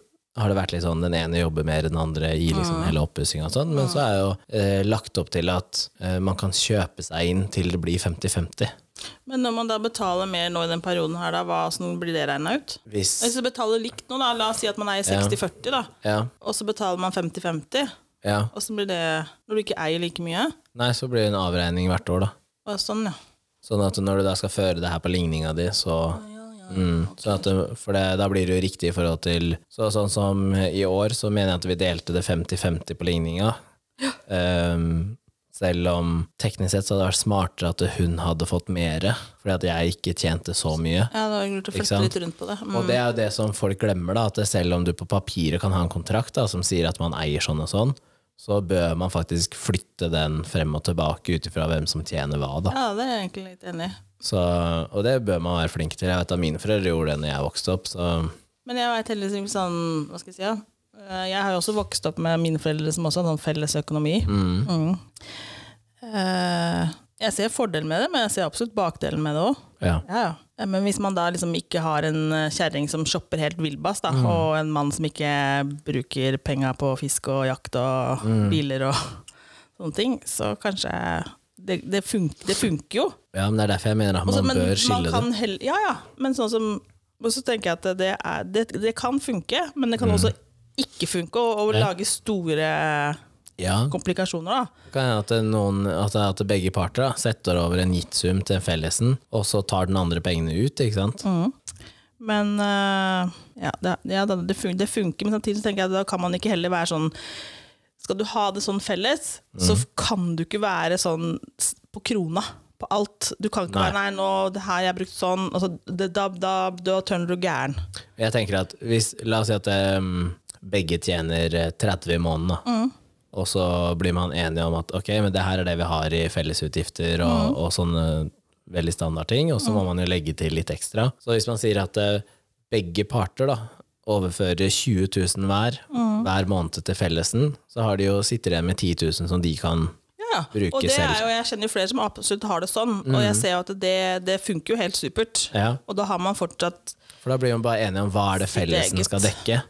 A: har det vært litt sånn den ene jobber mer enn den andre i liksom hele oppussinga og sånn, men så er jo eh, lagt opp til at eh, man kan kjøpe seg inn til det blir 50-50.
B: Men når man da betaler mer nå i den perioden her, da, hva sånn blir det regna ut?
A: Hvis
B: Hvis du betaler likt nå, da, la oss si at man er i 60-40, da,
A: Ja.
B: og så betaler man 50-50,
A: ja.
B: og så blir det Når du ikke eier like mye?
A: Nei, så blir det en avregning hvert år, da.
B: Å, sånn, ja.
A: Sånn at når du da skal føre det her på ligninga di, så mm, sånn at, det- For det, da blir det jo riktig i forhold til så, Sånn som i år, så mener jeg at vi delte det 50-50 på ligninga. Ehm, Selv om teknisk sett så hadde det vært smartere at hun hadde fått mere, fordi at jeg ikke tjente så mye.
B: Ja, det var lurt å
A: Ikke
B: flytte
A: sant?
B: litt rundt på det. Mm.
A: Og det er jo det som folk glemmer, da, at det selv om du på papiret kan ha en kontrakt da, som sier at man eier sånn og sånn, så bør man faktisk flytte den frem og tilbake ut ifra hvem som tjener hva. Da.
B: Ja, det er jeg egentlig litt enig i.
A: Så, og det bør man være flink til. Jeg vet at mine foreldre gjorde det når jeg vokste opp, så
B: Men jeg veit heller ikke sånn Hva skal jeg si, da? Eh, Jeg har jo også vokst opp med mine foreldre som også hadde sånn felles økonomi. Mm. Eh, Jeg ser fordelen med det, men jeg ser absolutt bakdelen med det òg.
A: ja.
B: Ja, ja. Eh, Men hvis man da liksom ikke har en eh, kjerring som shopper helt villbass, da, og en mann som ikke bruker penga på fisk og jakt og biler og sånne ting, så kanskje Det, det, funker, det funker jo.
A: ja, men det er derfor jeg mener at
B: Også,
A: man
B: men
A: bør
B: man
A: skille det.
B: kan hell- ja, ja. Men sånn som Og så tenker jeg at det, er, det, det kan funke, men det kan også ikke funke, og, og
A: Mm. Ja.
B: lage store
A: Ja,
B: komplikasjoner, da.
A: kan hende at, det er noen, at, det er at begge parter da, setter over en gitt sum til fellesen, og så tar den andre pengene ut, ikke sant?
B: Men øh, ja, det, ja, da- det, fun det funker, men samtidig så tenker jeg at da kan man ikke heller være sånn Skal du ha det sånn felles, så
A: Mm.
B: f- kan du ikke være sånn s- på krona på alt. Du kan ikke
A: Nei.
B: være 'nei, nå, det her jeg har brukt sånn', altså, det, da, da, da tørner du gæren.
A: Jeg tenker at hvis, la oss si at em, begge tjener eh, 30 i måneden, da. og så blir man enige om at ok, men det her er det vi har i fellesutgifter og, og sånne veldig standard ting, og så må man jo legge til litt ekstra. Så hvis man sier at eh, begge parter da, overfører 20 000 hver, hver måned til fellesen, så har de jo sitter igjen med 10 000 som de kan
B: Ja,
A: Bruke
B: og det
A: selv. Mm.
B: er jo, jeg kjenner jo flere som absolutt har det sånn, og jeg ser jo at det, det funker jo helt supert.
A: ja,
B: Og da har man fortsatt
A: For da blir man bare enige om hva er det
B: Sitt
A: fellesen
B: eget. Mm.
A: skal dekke.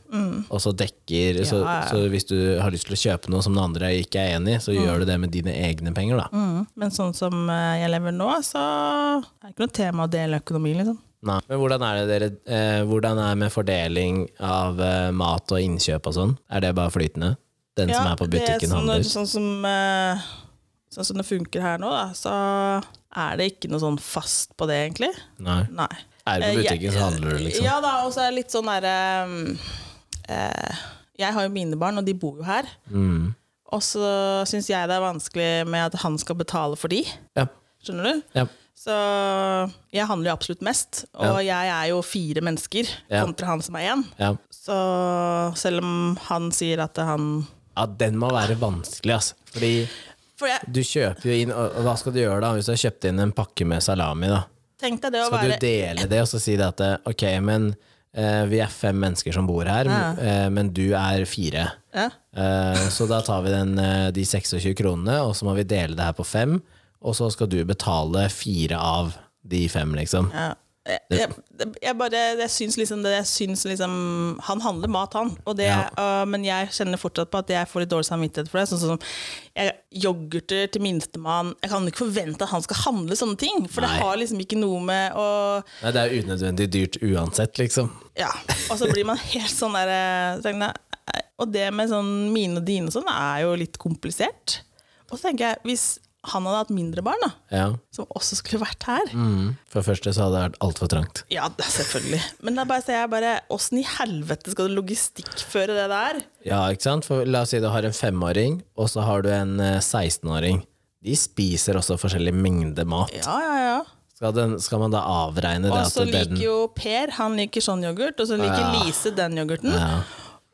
A: Og så dekker så,
B: Ja, ja.
A: så hvis du har lyst til å kjøpe noe som den andre ikke er enig i, så
B: Mm.
A: gjør du det med dine egne penger, da.
B: Men sånn som eh, jeg lever nå, så er det ikke noe tema å dele økonomi, liksom.
A: Nei. Men hvordan er det dere eh, Hvordan er det med fordeling av eh, mat og innkjøp og sånn? Er det bare flytende? Den som er på
B: det er
A: butikken,
B: sånn,
A: handler.
B: Sånn som, eh, sånn som det funker her nå, da, så er det ikke noe sånn fast på det, egentlig.
A: Nei.
B: Nei.
A: Er du
B: Eh,
A: på
B: jeg-
A: butikken, så handler du, liksom.
B: Ja da, og så er det litt sånn derre um, eh, Jeg har jo mine barn, og de bor jo her.
A: Mm.
B: Og så syns jeg det er vanskelig med at han skal betale for de.
A: Ja.
B: Skjønner du?
A: ja.
B: Så jeg handler jo absolutt mest, og jeg er jo fire mennesker
A: Ja.
B: kontra han som er én.
A: ja.
B: Så selv om han sier at han
A: Ja, den må være vanskelig, altså. Fordi
B: For jeg
A: du kjøper jo inn Og og hva skal du gjøre, da? Hvis du har kjøpt inn en pakke med salami, da.
B: tenkte det å
A: Skal
B: være
A: du dele det og så si det at eh, ok, men eh, vi er fem mennesker som bor her,
B: Ja.
A: eh, men du er fire.
B: ja,
A: Eh, så da tar vi den, eh, de 26 kronene, og så må vi dele det her på fem. Og så skal du betale fire av de fem, liksom.
B: ja. Jeg, jeg, jeg bare Jeg syns liksom det Jeg syns liksom Han handler mat, han. Og det,
A: Ja.
B: øh, men jeg kjenner fortsatt på at jeg får litt dårlig samvittighet for det. Sånn som jeg, Yoghurter til minstemann Jeg kan ikke forvente at han skal handle sånne ting. For
A: Nei.
B: det har liksom ikke noe med å
A: Nei, det er jo unødvendig dyrt uansett, liksom.
B: Ja, og så blir man helt sånn der eh, så tenker jeg, Og det med sånn mine og dine og sånn er jo litt komplisert. Og så tenker jeg, hvis han hadde hatt mindre barn, da,
A: Ja.
B: som også skulle vært her
A: Mm. For det første så hadde det vært altfor trangt.
B: Ja, da, selvfølgelig. Men da bare ser jeg bare Åssen i helvete skal du logistikkføre det der?
A: Ja, ikke sant? For la oss si du har en femåring, og så har du en eh, 16-åring. De spiser også forskjellig mengde mat.
B: Ja, ja, ja.
A: Skal, den, skal man da avregne det
B: Og så
A: at den
B: liker jo Per han liker sånn yoghurt, og så liker
A: Ja.
B: Lise den yoghurten.
A: Ja.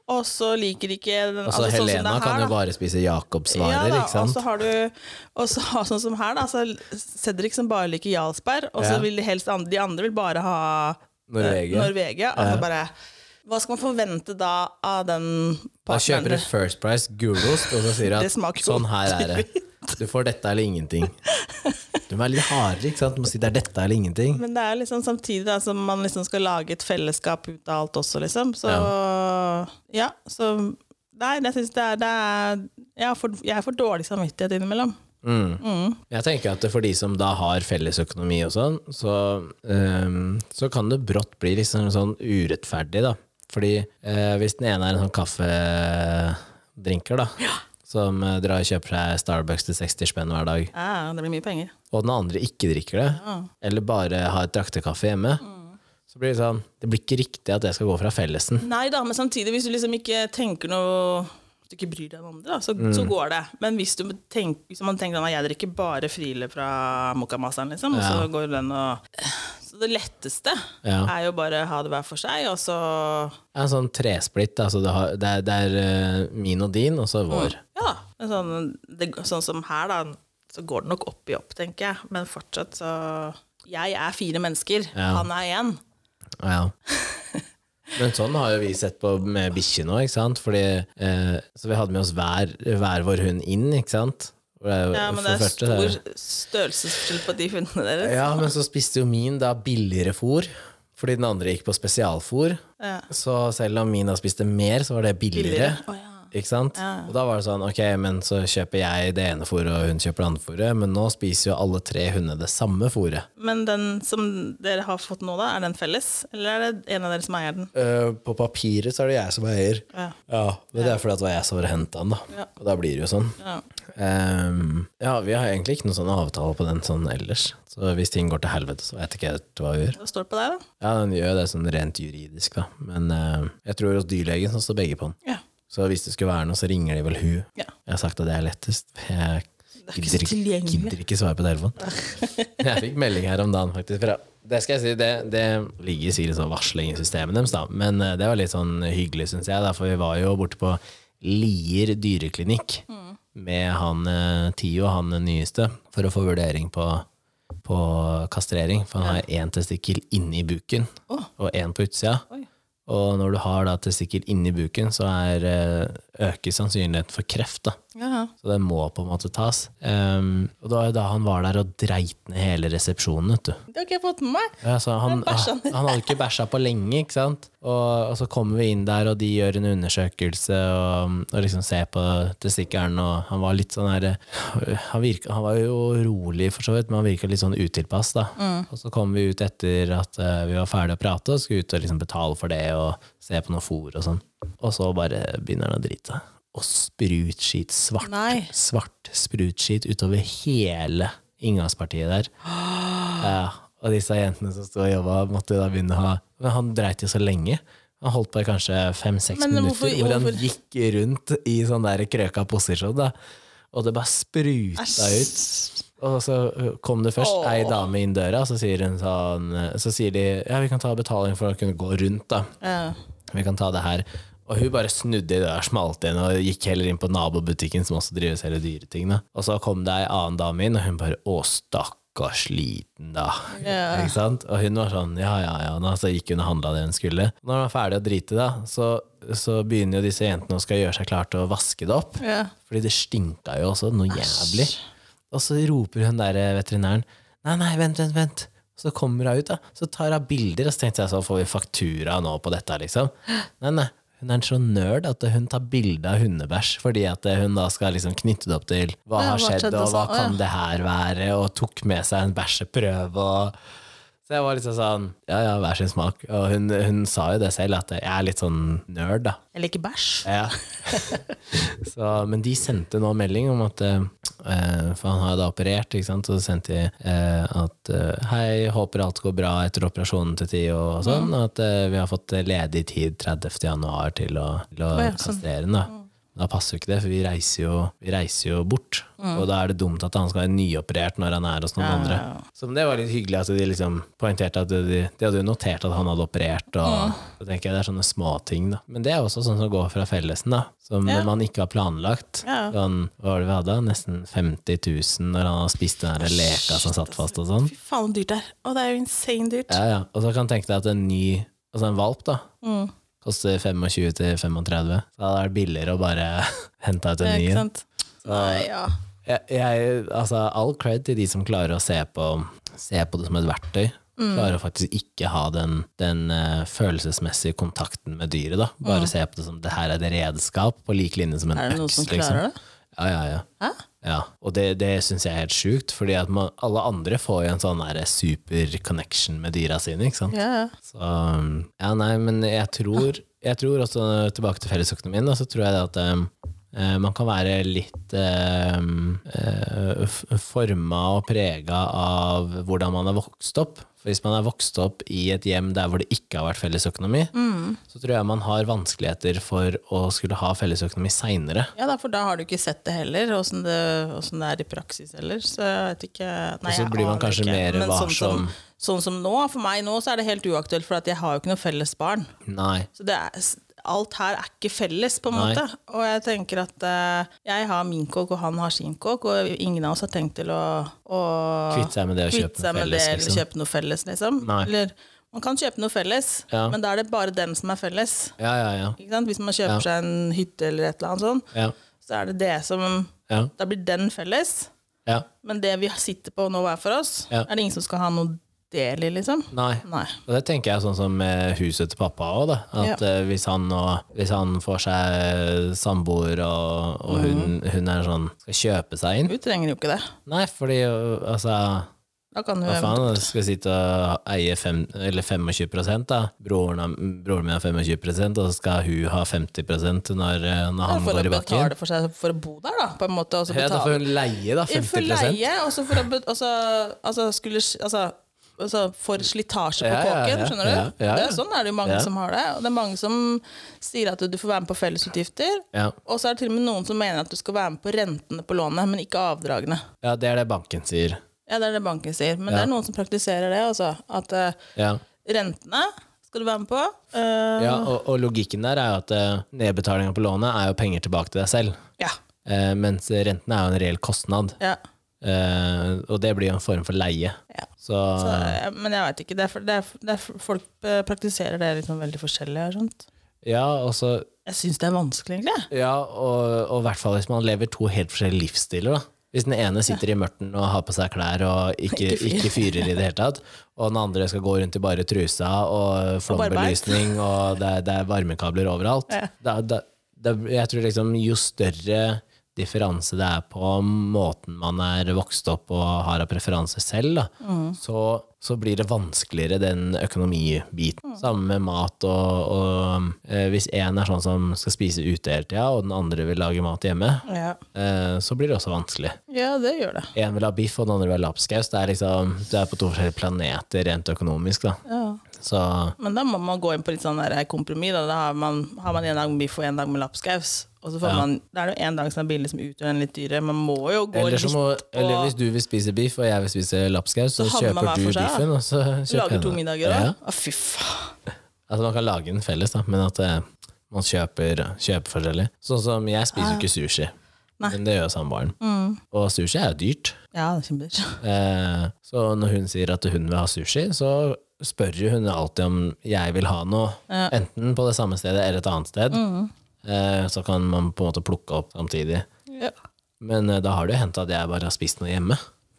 B: Og så liker ikke den
A: Altså,
B: altså, sånn som
A: Helena
B: det er
A: kan
B: her,
A: jo
B: da.
A: bare spise
B: Ja
A: Jacobsvarer,
B: da, altså,
A: ikke sant?
B: Og så har du og så, har- sånn som her, da. Så Cedric som bare liker Jarlsberg, og så
A: Ja.
B: vil de helst andre, de andre vil bare ha
A: Norvegia.
B: eh, Norvegia og så bare, hva skal man forvente da av den
A: Da kjøper du
B: partneren?
A: First Price gulost, og så sier du at
B: Det smaker
A: sånn her er det.
B: godt.
A: Du får dette eller ingenting. Du må være litt hardere, ikke sant? Du må si det er dette eller ingenting.
B: Men det er jo liksom samtidig da, som man liksom skal lage et fellesskap ut av alt også, liksom. Så ja, så Nei, jeg syns det er, det er jeg, har for, jeg får dårlig samvittighet innimellom.
A: Jeg tenker at for de som da har felles økonomi og sånn, så, øhm, så kan det brått bli litt sånn- sånn urettferdig, da. Fordi eh, hvis den ene er en sånn kaffedrinker, da, som eh, drar og kjøper seg Starbucks til 60 spenn hver dag,
B: Ja, det blir mye penger.
A: og den andre ikke drikker det, eller bare har et draktekaffe hjemme,
B: Mm.
A: så blir det sånn Det blir ikke riktig at det skal gå fra fellesen.
B: Nei da, men samtidig, hvis du liksom ikke tenker noe at du ikke bryr deg om andre, da, så,
A: Mm.
B: så går det. Men hvis, du tenk, hvis man tenker at jeg drikker bare Friele fra Mokkamaseren, liksom, og
A: Ja.
B: så går den og Så det letteste
A: Ja.
B: er jo bare å ha det hver for seg, og så
A: Ja, en sånn tresplitt. Altså det, har, det er, det er eh, min og din, og så
B: Mm.
A: vår.
B: Ja. Men sånn, det, sånn som her, da, så går det nok opp i opp, tenker jeg. Men fortsatt så Jeg er fire mennesker,
A: Ja.
B: han er én.
A: Ja. Men sånn har jo vi sett på med bikkje nå, ikke sant? Fordi, eh, så vi hadde med oss hver, hver vår hund inn, ikke sant? Og Det er jo,
B: Ja, men
A: for
B: det er
A: første, det
B: stor
A: er-
B: størrelsesforskjell på de hundene deres.
A: Ja, men så spiste jo min da billigere fôr, fordi den andre gikk på spesialfôr.
B: Ja.
A: Så selv om min da spiste mer, så var det billigere.
B: Billigere. Å, ja.
A: Ikke sant? Og da var det sånn, ok, men så kjøper jeg det ene fôret, og hun kjøper det andre fôret, men nå spiser jo alle tre hundene det samme fôret.
B: Men den som dere har fått nå, da, er den felles? Eller er det en av dere som eier den?
A: Eh, på papiret så er det jeg som eier.
B: Ja.
A: men Det er fordi at det var jeg som var henta den, da.
B: Ja.
A: Og da blir det jo sånn.
B: Ja.
A: Ehm, ja, vi har egentlig ikke noen sånn avtale på den sånn ellers. Så hvis ting går til helvete, så vet ikke jeg hva vi gjør.
B: Hva står det på der, da?
A: Ja, den gjør jo det sånn rent juridisk, da. Men eh, jeg tror hos dyrlegen så står begge på den.
B: Ja.
A: Så hvis det skulle være noe, så ringer de vel hun.
B: Ja.
A: Jeg har sagt at det er lettest. for Jeg
B: er ikke så
A: gidder ikke,
B: tilgjengelig.
A: gidder ikke svare på telefonen. Jeg fikk melding her om dagen, faktisk. Fra, det skal jeg si, det, det ligger sikkert sånn varsling i systemet deres, da. Men eh, det var litt sånn hyggelig, syns jeg, da, for vi var jo borte på Lier dyreklinikk med han eh, Tio, han nyeste, for å få vurdering på på kastrering, for han har én testikkel inni buken og én på utsida.
B: Oi.
A: Og når du har da testikkel inni buken, så er, eh, øker sannsynligheten for kreft. da.
B: Ja.
A: Så den må på en måte tas. Ehm, og det var jo da han var der og dreit ned hele resepsjonen, vet du.
B: Det har ikke jeg fått med meg.
A: Ja, så han,
B: bæsja
A: han, hadde ikke bæsja på lenge, ikke sant? Og, og så kommer vi inn der, og de gjør en undersøkelse og, og liksom ser på testikkelen, og han var litt sånn her han, virka, han var jo rolig for så vidt, men han virka litt sånn utilpass, da.
B: Mm.
A: Og så kom vi ut etter at eh, vi var ferdige å prate, og skulle ut og liksom betale for det og se på noe fôr og sånn. Og så bare begynner han å drite seg. Og sprutskit, svart,
B: Nei.
A: svart sprutskit utover hele inngangspartiet der. Ja, og disse jentene som sto og jobba, måtte jo da begynne å ha Men han dreit jo så lenge. Han holdt på i kanskje fem-seks
B: Men
A: minutter,
B: hvorfor-
A: hvor han
B: hvorfor-
A: gikk rundt i sånn der krøka posisjon, da. Og det bare spruta ut. Og så kom det først ei dame inn døra, så sier hun sånn Så sier de ja, vi kan ta betaling for å kunne gå rundt, da.
B: Ja.
A: Vi kan ta det her. Og hun bare snudde i døra, smalt igjen og gikk heller inn på nabobutikken, som også driver og selger dyreting. da. Og så kom det ei annen dame inn, og hun bare Å, stakkars liten, da.
B: Ja.
A: Ikke sant? Og hun var sånn Ja, ja, ja. Da. Så gikk hun og handla det hun skulle. Når hun var ferdig å drite, da, så, så begynner jo disse jentene å skal gjøre seg klar til å vaske det opp.
B: Ja.
A: Fordi det stinka jo også noe jævlig. Og så roper hun der eh, veterinæren Nei, nei, vent, vent, vent. Så kommer hun ut, da. Så tar hun bilder, og så tenkte jeg så får vi faktura nå på dette, liksom. Nei, nei. Hun er en sånn nerd at hun tar bilde av hundebæsj, fordi at hun da skal liksom knytte det opp til hva
B: Ja,
A: har
B: hva
A: skjedd,
B: skjedde
A: og hva
B: sånn, å,
A: kan
B: ja.
A: det her være, og tok med seg en bæsjeprøve og så jeg var liksom sånn Ja, ja, hver sin smak. Og hun, hun sa jo det selv, at jeg er litt sånn nerd, da.
B: Jeg liker bæsj.
A: Ja. så, men de sendte nå melding om at eh, For han har jo da operert, ikke sant? og så sendte de eh, at eh, Hei, håper alt går bra etter operasjonen til tid og
B: Mm.
A: sånn. Og at eh, vi har fått ledig tid 30. januar til å, til å
B: Å, ja, sånn.
A: kastrere den. Da. Da passer jo ikke det, for vi reiser jo, vi reiser jo bort.
B: Mm.
A: Og da er det dumt at han skal være nyoperert når han er hos noen andre. Så det var litt hyggelig at de liksom poengterte at de, de hadde jo notert at han hadde operert. Og
B: Mm.
A: så tenker jeg det er sånne småting, da. Men det er også sånn som går fra fellesen, da. Som man ikke har planlagt.
B: Ja.
A: Sånn, hva var det vi hadde? Nesten 50 000 når han har spist den der leka som satt fast og sånn.
B: Fy faen, så dyrt det er. Å, det er jo insane dyrt.
A: Ja, ja. Og så kan du tenke deg at en ny, altså en valp, da.
B: Mm.
A: Koster 25 til 35. Så da er det billigere å bare hente ut en ny.
B: Ikke
A: en.
B: sant? Nei, ja.
A: jeg, jeg, altså, all cred til de som klarer å se på, se på det som et verktøy.
B: Mm.
A: Klarer å faktisk ikke ha den, den eh, følelsesmessige kontakten med dyret. Da. Bare se på det som det her er et redskap, på lik linje som en
B: Er det noen
A: øks,
B: som
A: liksom.
B: klarer det?
A: Ja, ja, ja.
B: Hæ?
A: Ja, og det, det syns jeg er helt sjukt, fordi at man, alle andre får jo en sånn der super connection med dyra sine, ikke sant.
B: Ja, ja.
A: Så, ja, nei, men jeg tror, jeg tror også, tilbake til fellesøkonomien, da, så tror jeg det at um, Eh, Man kan være litt eh, eh, f- forma og prega av hvordan man er vokst opp. For hvis man er vokst opp i et hjem der hvor det ikke har vært fellesøkonomi,
B: Mm.
A: så tror jeg man har vanskeligheter for å skulle ha fellesøkonomi seinere.
B: Ja, da, for da har du ikke sett det heller, åssen det, hvordan det er i praksis heller. Så jeg vet ikke nei,
A: Og så
B: jeg
A: blir man
B: aner
A: kanskje
B: ikke.
A: mer
B: Men Sånn
A: varsom.
B: som, sånn som nå, for meg nå, så er det helt uaktuelt, for at jeg har jo ikke noe felles barn.
A: Nei.
B: Så det er, alt her er ikke felles, på en
A: Nei.
B: måte. Og jeg tenker at eh, jeg har min kåk, og han har sin kåk, og ingen av oss har tenkt til å, å
A: Kvitte seg med det og
B: kvitte
A: kjøpe noe
B: seg med
A: felles,
B: det, eller
A: liksom.
B: kjøpe noe felles, liksom.
A: Nei.
B: Eller, man kan kjøpe noe felles,
A: Ja.
B: men da er det bare dem som er felles.
A: Ja, ja, ja.
B: Ikke sant? Hvis man kjøper seg en hytte eller et eller annet sånt,
A: Ja,
B: så er det det som
A: ja,
B: Da blir den felles.
A: ja.
B: Men det vi sitter på nå hver for oss,
A: Ja.
B: er det ingen som skal ha noe del i, liksom.
A: Nei.
B: Nei.
A: Og det tenker jeg sånn som med huset til pappa òg, da. At eh, hvis, han nå, hvis han får seg samboer, og, og hun,
B: Mhm.
A: hun er sånn skal kjøpe seg inn
B: Hun trenger jo ikke det.
A: Nei, fordi ø, altså
B: Da kan hun
A: hva faen, du skal sitte og eie fem, eller 25 da. Broren, har- broren min har 25 og så skal hun ha 50 når, ø, når han
B: for å
A: går i bakken.
B: betale for seg for å bo der, da, på en måte. Og så
A: Ja, da får
B: betale
A: hun leie, da. 50
B: for leie, og så for å bet- altså, altså, skulle Altså Altså for slitasje på
A: Ja, ja,
B: kåken,
A: ja,
B: skjønner du?
A: ja, ja,
B: Det
A: ja.
B: er sånn er det jo mange
A: Ja.
B: som har det. Og det er mange som sier at du får være med på fellesutgifter.
A: Ja.
B: Og så er det til og med noen som mener at du skal være med på rentene på lånet, men ikke avdragene.
A: ja, det er det banken sier.
B: Ja, det er det banken sier. Men det er noen som praktiserer det, altså. At eh,
A: Ja.
B: rentene skal du være med på. eh,
A: Ja, og, og logikken der er jo at uh, nedbetalinga på lånet er jo penger tilbake til deg selv.
B: ja.
A: Eh, mens renten er jo en reell kostnad.
B: ja.
A: Eh, og det blir jo en form for leie.
B: Ja.
A: Så,
B: Så, eh, men jeg veit ikke. Det er, for- det er, det er, for- folk eh, praktiserer det liksom veldig forskjellig. og sånt.
A: ja, og så
B: Jeg syns det er vanskelig, egentlig.
A: Ja, og, og i hvert fall hvis man lever to helt forskjellige livsstiler. da. Hvis den ene sitter i mørten og har på seg klær og ikke,
B: Ikke fyrer.
A: ikke fyrer i det hele tatt, og den andre skal gå rundt i bare trusa og
B: Og
A: flombelysning og det er, det er varmekabler overalt
B: Ja.
A: da, da, da, Jeg tror liksom jo større differanse det er på måten man er vokst opp og har av preferanser selv, da, så, så blir det vanskeligere den økonomibiten. Sammen med mat og, og eh, Hvis én er sånn som skal spise ute hele tida, og den andre vil lage mat hjemme,
B: Ja.
A: eh, så blir det også vanskelig.
B: ja, det gjør det.
A: Én vil ha biff, og den andre vil ha lapskaus. Det er liksom, det er på to forskjellige planeter rent økonomisk. Da.
B: Ja.
A: Så
B: Men da må man gå inn på litt sånn der kompromiss. Da, da har, man, har man en dag med biff og en dag med lapskaus. Og så får
A: Ja.
B: man, da er det jo en dag som er billig, som utgjør en litt dyrere. Man må jo gå
A: eller, så
B: litt
A: må,
B: på
A: eller hvis du vil spise biff, og jeg vil spise lapskaus, så,
B: Så havner man
A: kjøper
B: hver
A: du
B: for seg, da.
A: biffen, og så kjøper jeg
B: Lage to
A: den.
B: middager
A: Ja.
B: òg. Å, fy faen.
A: Altså Man kan lage den felles, da, men at eh, man kjøper, kjøper forskjellig. Sånn som jeg spiser jo ikke sushi,
B: Nei. Mm.
A: men det gjør samboeren. Og sushi er jo dyrt.
B: Ja, det er kjempedyrt.
A: Eh, så når hun sier at hun vil ha sushi, så spør jo hun alltid om jeg vil ha noe.
B: Ja. Mm.
A: Enten på det samme stedet eller et annet sted. Eh, så kan man på en måte plukke opp samtidig.
B: Ja.
A: Men eh, da har det jo hendt at jeg bare har spist noe hjemme.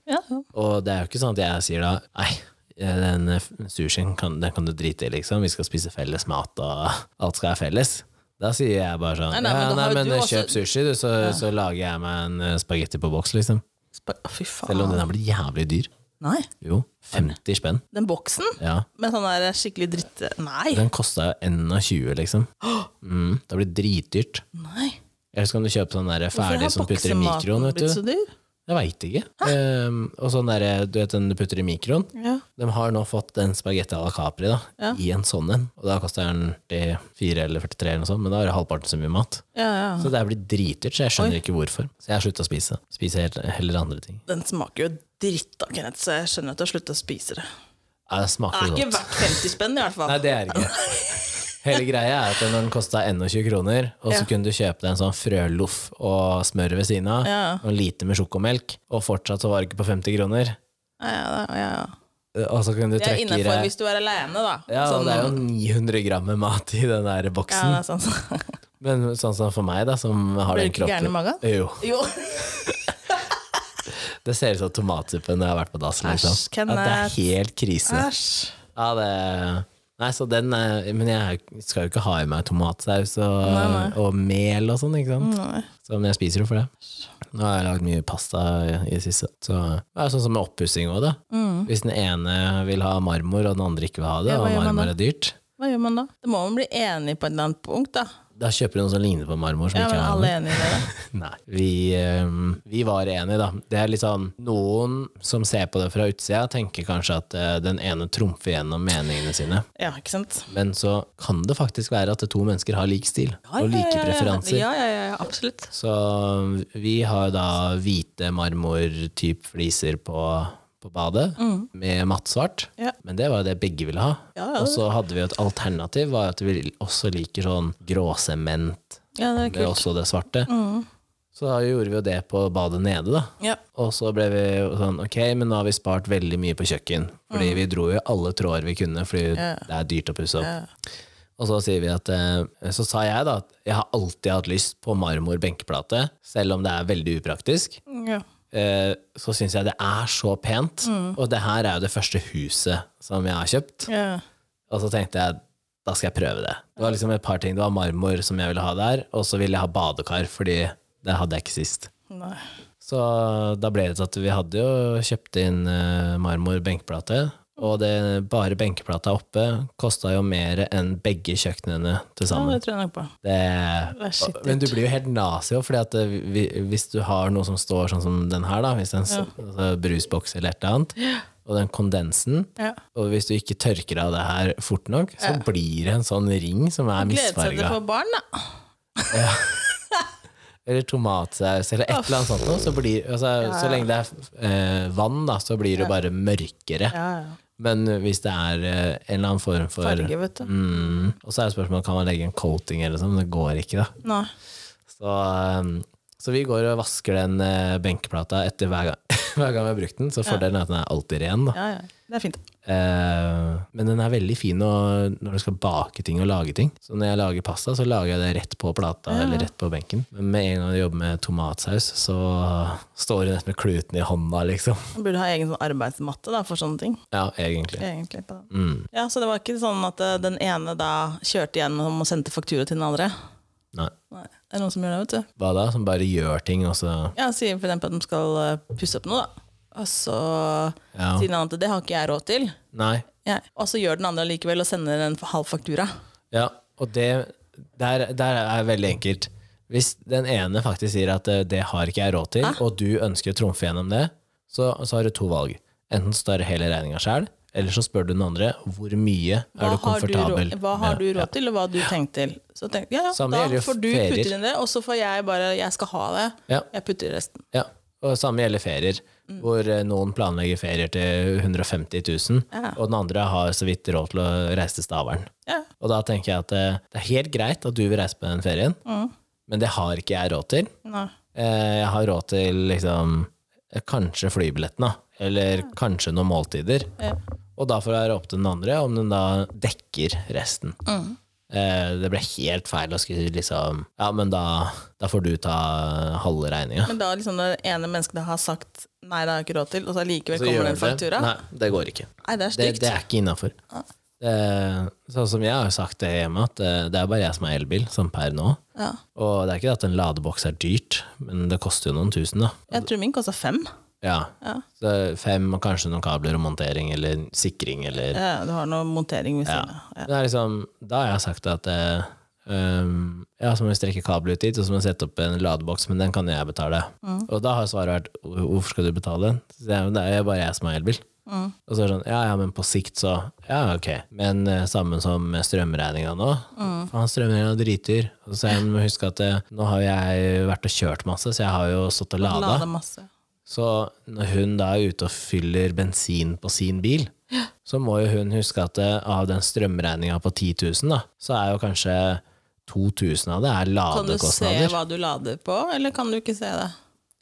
B: Ja, ja.
A: Og det er jo ikke sånn at jeg sier da Nei, den eh, sushien kan, den kan du drite i, liksom. Vi skal spise felles mat, og alt skal være felles. Da sier jeg bare sånn
B: Nei,
A: Nei,
B: nei,
A: nei,
B: men da
A: men,
B: har jo du
A: eh,
B: også-
A: kjøp sushi, du, så, så lager jeg meg en eh, spagetti på boks, liksom.
B: Spa- Å, Fy faen.
A: Selv om den er blitt jævlig dyr.
B: Nei,
A: Jo, 50 spenn.
B: den boksen
A: Ja.
B: med sånn der skikkelig dritt... Nei!
A: Den kosta jo 21, liksom. Mm, det har blitt dritdyrt.
B: nei.
A: Eller så kan du kjøpe sånn der
B: Hvorfor
A: ferdig
B: har
A: som putter i
B: boksematen
A: mikroen, vet
B: blitt
A: du.
B: så dyr?
A: Jeg veit ikke. Um, og sånn der, du vet den du putter i mikroen?
B: Ja.
A: De har nå fått den spagetti à la Capri da,
B: Ja.
A: i en sånn en. Og da koster den 44 eller 43, eller noe sånt, men da er det halvparten så mye mat.
B: ja, ja.
A: Så det er blitt dritdyrt, så jeg skjønner ikke hvorfor. Så jeg har slutta å spise. Spiser helt, heller andre ting.
B: Den smaker jo dritt, da, Kenneth, så jeg skjønner at du har slutta å spise det.
A: Ja, det
B: Det
A: smaker
B: er ikke
A: godt.
B: verdt 50 spenn, i hvert fall.
A: Nei, det er det ikke. Hele greia er at når den kosta 21 kroner, og så
B: Ja.
A: kunne du kjøpe deg en sånn frøloff og smør ved siden av,
B: Ja.
A: og en liter med sjokomelk, og fortsatt så var det ikke på 50 kroner.
B: Ja, ja, ja, ja.
A: Og så kunne du
B: Det er
A: trekke i
B: innafor
A: deg
B: hvis du er aleine, da.
A: Ja, og
B: Sånn-
A: det er jo 900 gram med mat i den der
B: ja,
A: boksen.
B: det er sånn.
A: Men sånn som for meg, da, som har
B: Blir
A: den
B: du ikke gæren i
A: kroppen
B: magen?
A: Jo.
B: Jo,
A: Det ser ut som tomatsuppe når jeg har vært på dass. Liksom.
B: Æsj,
A: Ja, det er
B: Kenneth.
A: helt krise.
B: æsj.
A: Ja, det Nei, så den er, Men jeg skal jo ikke ha i meg tomatsaus og, og mel og sånn, ikke sant?
B: Nei.
A: Så, men jeg spiser jo for det. Nå har jeg lagd mye pasta i, i det siste. Så det er sånn som med oppussing òg, da. Hvis den ene vil ha marmor, og den andre ikke vil ha det,
B: Mm. Ja, hva
A: og
B: gjør man da?
A: marmor er dyrt,
B: Hva gjør man da? Det må man bli enig på et eller annet punkt, da.
A: Da kjøper du noe som ligner på marmor. Som
B: Ja,
A: ikke
B: men
A: er
B: alle
A: marmor.
B: er enige i det.
A: Nei. Vi, ehm, vi var enige, da. Det er litt sånn Noen som ser på det fra utsida, tenker kanskje at eh, den ene trumfer gjennom meningene sine.
B: Ja, ikke sant?
A: Men så kan det faktisk være at to mennesker har lik stil og like preferanser.
B: Ja, ja, ja, ja, absolutt.
A: Så mm, vi har da hvite marmortyp fliser på, på badet, med mattsvart.
B: Mm. Ja.
A: Men det var jo det begge ville ha.
B: Ja, ja.
A: Og så hadde vi jo et alternativ, var jo at vi også liker sånn gråsement
B: Ja, det er
A: med
B: kult.
A: også det svarte.
B: Mm.
A: Så da gjorde vi jo det på badet nede, da.
B: Ja.
A: Og så ble vi jo sånn Ok, men nå har vi spart veldig mye på kjøkken. Fordi vi dro jo alle tråder vi kunne, fordi
B: Mm. Ja.
A: det er dyrt å pusse opp.
B: Ja.
A: Og så sier vi at eh, Så sa jeg da at jeg har alltid hatt lyst på marmor benkeplate, selv om det er veldig upraktisk.
B: Ja.
A: Eh, Så syns jeg det er så pent.
B: Mm.
A: Og det her er jo det første huset som jeg har kjøpt.
B: Ja.
A: Og så tenkte jeg da skal jeg prøve det. Det var liksom et par ting. Det var marmor som jeg ville ha der, og så ville jeg ha badekar, fordi det hadde jeg ikke sist.
B: Nei.
A: Så da ble det til at vi hadde jo kjøpt inn eh, marmor benkeplate, og det bare benkeplata oppe kosta jo mer enn begge kjøkkenene til
B: Ja,
A: sammen.
B: det tror jeg nok på. Det
A: Det,
B: er shit,
A: men du blir jo helt nazi òg, fordi at eh, vi, hvis du har noe som står sånn som den her, da, hvis en s- altså, brusboks eller et eller annet, og den kondensen,
B: Ja.
A: og hvis du ikke tørker av det her fort nok, så blir det en sånn ring som er
B: Gledessetter
A: misfarga.
B: for barn, da.
A: Eller tomatsaus, eller et eller annet sånt noe. Så, blir, altså, så lenge det er eh, vann, da, så blir det jo bare mørkere.
B: Ja, ja.
A: Men hvis det er eh, en eller annen form for
B: Farge, vet du.
A: mm, Og så er spørsmålet kan man legge en coating eller sånn, men det går ikke, da.
B: Nei.
A: Så, um, så vi går og vasker den eh, benkeplata etter hver gang, hver gang vi har brukt den. Så fordelen er at den er alltid ren. Da.
B: Ja, ja. Det er fint.
A: Eh, men den er veldig fin å- når du skal bake ting og lage ting. Så når jeg lager pasta, så lager jeg det rett på plata eller rett på benken. Men med en gang jeg jobber med tomatsaus, så står hun nesten med kluten i hånda, liksom.
B: Man burde ha egen sånn arbeidsmatte da, for sånne ting.
A: Ja, Mm. egentlig.
B: Egentlig på den. Ja, Så det var ikke sånn at eh, den ene da kjørte igjennom og sendte faktura til den andre?
A: Nei.
B: Nei, det er noen som gjør det, vet du.
A: Hva da? Som bare gjør ting, og så
B: Ja, Sier for eksempel at de skal eh, pusse opp noe, da. Og så
A: Ja.
B: sier den andre at det har ikke jeg råd til.
A: Nei.
B: Ja. Og så gjør den andre likevel og sender en halv faktura.
A: Ja, og det der, der er veldig enkelt. Hvis den ene faktisk sier at eh, det har ikke jeg råd til,
B: Ah.
A: og du ønsker å trumfe gjennom det, så, så har du to valg. Enten så tar du hele regninga sjøl, eller så spør du den andre hvor mye er
B: Hva
A: du
B: har du,
A: komfortabel
B: råd, hva har du
A: med.
B: råd til, og hva har du tenkt til? Så tenk, ja, ja,
A: Samme
B: da
A: gjelder jo
B: får du
A: ferier.
B: putte inn det, og så får jeg bare Jeg skal ha det.
A: Ja.
B: Jeg putter i resten.
A: Ja, og samme gjelder ferier,
B: Mm.
A: hvor eh, noen planlegger ferier til 150 000,
B: Ja.
A: og den andre har så vidt råd til å reise til Stavern.
B: Ja.
A: Og da tenker jeg at eh, det er helt greit at du vil reise på den ferien,
B: Mm.
A: men det har ikke jeg råd til.
B: Nei.
A: Eh, Jeg har råd til liksom eh, kanskje flybilletten, da. Eller kanskje noen måltider.
B: Ja.
A: Og da får det være opp til den andre om den da dekker resten.
B: Mm.
A: Eh, Det ble helt feil å skulle liksom Ja, men da, da får du ta halve regninga.
B: Men da liksom det ene mennesket har sagt nei, det har jeg ikke råd til, og så likevel
A: Så
B: kommer
A: gjør
B: det en
A: du det.
B: faktura? Nei,
A: Nei, det går ikke.
B: det er
A: Det,
B: stygt.
A: det er ikke innafor. Sånn som jeg har sagt det hjemme, at eh, det er bare jeg som har elbil, sånn per nå.
B: Ja.
A: Og det er ikke det at en ladeboks er dyrt, men det koster jo noen tusen, da.
B: Jeg tror min kosta fem.
A: Ja.
B: Ja.
A: Så fem og kanskje noen kabler og montering eller sikring eller
B: Ja, du har noe montering ved siden av. Ja.
A: det er liksom, Da har jeg sagt at eh, um, ja, så må vi strekke kabel ut dit, og så må vi sette opp en ladeboks, men den kan jo jeg betale.
B: Mm.
A: Og da har svaret vært "Hvor- hvorfor skal du betale den? Så sier jeg, men det er jo bare jeg som har elbil.
B: Mm.
A: Og så er det sånn, ja ja, men på sikt så Ja, ok. Men eh, samme som med strømregninga nå.
B: Mm.
A: Faen, strømregninga driter. Og så jeg må huske at eh, nå har jeg vært og kjørt masse, så jeg har jo stått og lada.
B: Lada masse.
A: Så når hun da er ute og fyller bensin på sin bil, så må jo hun huske at eh, av den strømregninga på 10 000, da, så er jo kanskje 2000 av det er
B: Kan du se
A: ladekostnader.
B: hva du lader på, eller kan du ikke se det?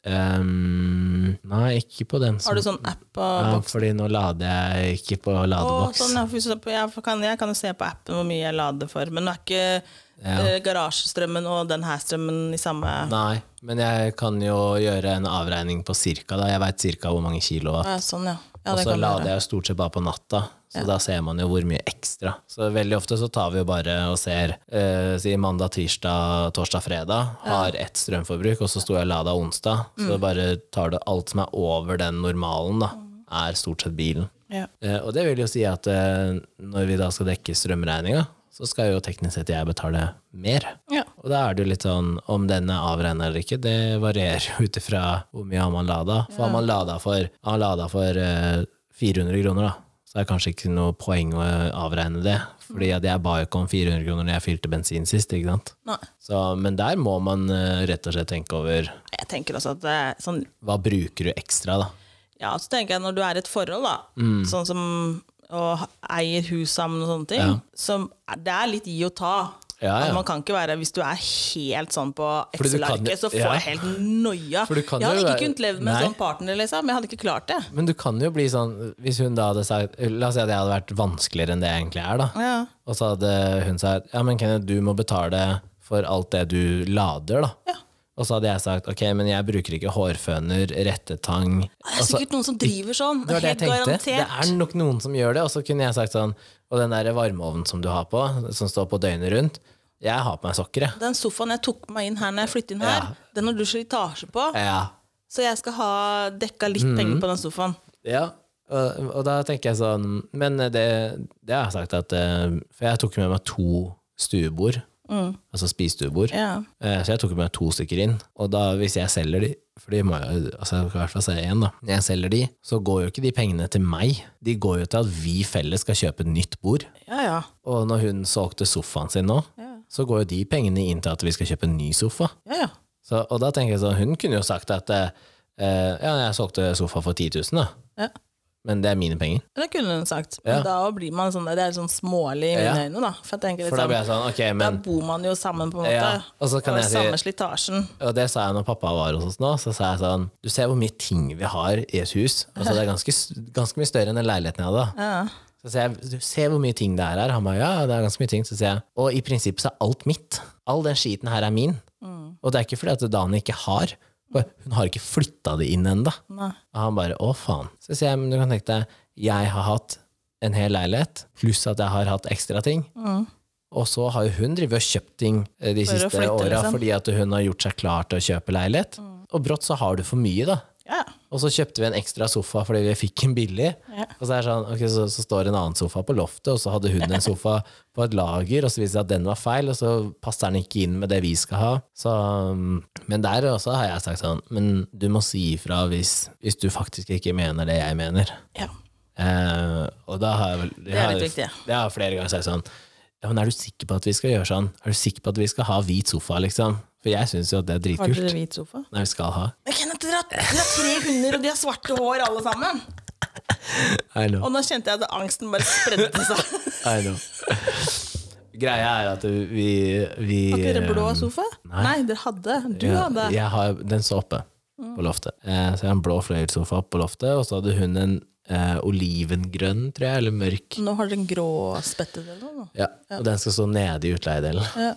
A: Ehm, nei, ikke på den som
B: Har du sånn app på
A: ja,
B: boksen?
A: Fordi nå lader jeg ikke på
B: Å,
A: ladeboks.
B: sånn, ja, for eksempel, jeg, kan, jeg kan jo se på appen hvor mye jeg lader for, men det er ikke eh, garasjestrømmen og den her strømmen i samme
A: Nei, men jeg kan jo gjøre en avregning på cirka, da. Jeg veit cirka hvor mange kilo.
B: Å, ja, Sånn, ja. ja
A: og
B: det
A: så
B: kan
A: lader
B: være.
A: jeg jo stort sett bare på natta, så da ser man jo hvor mye ekstra. Så veldig ofte så tar vi jo bare og ser eh, si mandag, tirsdag, torsdag, fredag, har ett strømforbruk, og så sto jeg og lada onsdag.
B: Mm.
A: Så bare tar du alt som er over den normalen, da, er stort sett bilen.
B: Ja.
A: Eh, og det vil jo si at eh, når vi da skal dekke strømregninga, så skal jo teknisk sett jeg betale mer.
B: Ja.
A: Og da er det jo litt sånn om den er avregna eller ikke, det varierer jo ut ifra hvor mye har man lada. For har man lada for, har man lada for eh, 400 kroner, da, så er det kanskje ikke noe poeng å avregne det. Fordi at jeg ba jo ikke om 400 kroner når jeg fylte bensin sist, ikke sant.
B: Nei.
A: Så, men der må man eh, rett og slett tenke over
B: Jeg tenker også at det er sånn
A: hva bruker du ekstra, da.
B: Ja, så tenker jeg når du er i et forhold, da,
A: Mm.
B: sånn som å ha- eier hus sammen og sånne ting, som, det er litt gi og ta.
A: Ja, ja.
B: At man kan ikke være, Hvis du er helt sånn på
A: Fordi du kan jo-
B: Excel-arket, så får
A: ja.
B: jeg helt noia.
A: For du kan
B: Jeg hadde
A: jo
B: ikke
A: være-
B: kunnet leve med
A: Nei.
B: en sånn partner, liksom. Jeg hadde ikke klart det.
A: Men du kan jo bli sånn Hvis hun da hadde sagt La oss si at jeg hadde vært vanskeligere enn det jeg egentlig er, da.
B: Ja,
A: Og så hadde hun sagt Ja, men Kenneth, du må betale for alt det du lader da
B: Ja.
A: Og så hadde jeg sagt Ok, men jeg bruker ikke hårføner, rettetang
B: Det er sikkert noen som driver sånn.
A: Det var det jeg
B: helt
A: tenkte Det
B: garantert.
A: er nok noen som gjør det Og så kunne jeg sagt sånn Og den der varmeovnen som du har på Som står på døgnet rundt Jeg har på meg sokker, jeg
B: Den sofaen jeg tok meg inn her når jeg flyttet inn her,
A: Ja.
B: den har du slitasje på,
A: Ja,
B: så jeg skal ha dekka litt penger på den sofaen.
A: ja. Og, og da tenker jeg sånn Men det, det har jeg sagt at eh, For jeg tok med meg to stuebord Altså spistuebord
B: Ja.
A: Eh, Så jeg tok med to stykker inn. Og da, hvis jeg selger de, for de må jeg, altså jeg kan i hvert fall si igjen da, når jeg selger de, så går jo ikke de pengene til meg. De går jo til at vi felles skal kjøpe et nytt bord.
B: ja, ja.
A: Og når hun solgte sofaen sin nå,
B: Ja.
A: så går jo de pengene inn til at vi skal kjøpe en ny sofa.
B: ja, ja.
A: Så, og da tenker jeg sånn, hun kunne jo sagt at eh, eh, ja, jeg solgte sofa for 10 000 da,
B: ja.
A: men det er mine penger.
B: Det kunne hun sagt. Men
A: Ja.
B: da blir man sånn, det er sånn smålig i mine
A: Ja.
B: øyne, da. For jeg tenker litt
A: For da blir jeg
B: sånn,
A: sånn, ok,
B: da
A: men...
B: bor man jo sammen, på en måte.
A: Ja, og så kan jeg si-
B: samme slitasjen.
A: Og det sa jeg når pappa var hos oss nå, så sa jeg sånn Du ser hvor mye ting vi har i et hus. Altså det er ganske, s- ganske mye større enn den leiligheten jeg hadde. da.
B: Ja.
A: Så sier jeg, du ser hvor mye ting det er her. Han ba, ja, det er ganske mye ting. Så sier jeg, og i prinsippet så er alt mitt. All den skiten her er min.
B: Mm.
A: Og det er ikke fordi at Dani ikke har. Bare, Hun har ikke flytta det inn ennå.
B: Nei.
A: Og han bare, å faen. Så sier jeg, men du kan tenke deg, jeg har hatt en hel leilighet, pluss at jeg har hatt ekstra ting. Og så har jo hun drivet og kjøpt ting eh, de
B: Mm. For å
A: siste
B: flytte,
A: åra
B: liksom. Mm.
A: fordi at hun har gjort seg klar til å kjøpe leilighet. Og brått så har du for mye, da.
B: Ja.
A: Og så kjøpte vi en ekstra sofa fordi vi fikk en billig.
B: Ja.
A: Og så, er det sånn, ok, så, så står en annen sofa på loftet, og så hadde hun en sofa på et lager, og så viste det seg at den var feil, og så passer den ikke inn med det vi skal ha. Så, um, men der også har jeg sagt sånn, men du må si ifra hvis, hvis du faktisk ikke mener det jeg mener.
B: ja.
A: Eh, og da har jeg vel Det
B: er litt viktig.
A: Det har jeg flere ganger sagt sånn Ja, men er du sikker på at vi skal gjøre sånn? Er du sikker på at vi skal ha hvit sofa, liksom? For jeg syns jo at det er
B: Har
A: dritkult.
B: dere hvit sofa?
A: Nei, vi skal ha.
B: Men Kenneth, dere har, dere har tre hunder, og de har svarte hår, alle sammen.
A: I know.
B: Og nå kjente jeg at angsten bare spredte seg.
A: I know. Greia er at vi, vi
B: Har ikke dere blå sofa?
A: Nei.
B: dere hadde. Du
A: ja,
B: hadde.
A: Jeg har den så oppe
B: Mm.
A: på loftet. Eh, så jeg har en blå fløyelssofa oppe på loftet, og så hadde hun en eh, olivengrønn, tror jeg, eller mørk.
B: Nå har dere en grå spettet eller noe.
A: Ja, Og den skal stå nede i utleiedelen.
B: Ja.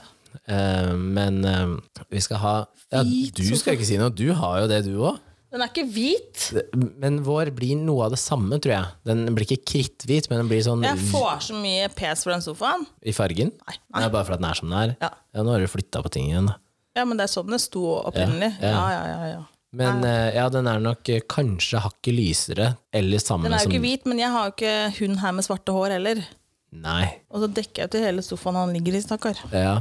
A: Eh, men eh, vi skal ha ja,
B: Hvit
A: Du skal ikke si noe, du har jo det, du òg.
B: Den er ikke hvit.
A: Men vår blir noe av det samme, tror jeg. Den blir ikke kritthvit, men den blir sånn
B: Jeg får så mye pes for den sofaen.
A: i fargen.
B: Nei,
A: Det er bare fordi den er som den er.
B: Ja.
A: nå har du flytta på ting igjen, da.
B: Ja, men det er sånn det sto opprinnelig.
A: Ja,
B: Ja,
A: ja.
B: ja, ja, ja.
A: Men eh, ja, den er nok eh, kanskje hakket lysere, eller samme
B: Den er
A: som
B: sånn- jo ikke hvit, men jeg har jo ikke hun her med svarte hår heller.
A: Nei.
B: Og så dekker jeg jo til hele sofaen han ligger i, stakkar.
A: Ja.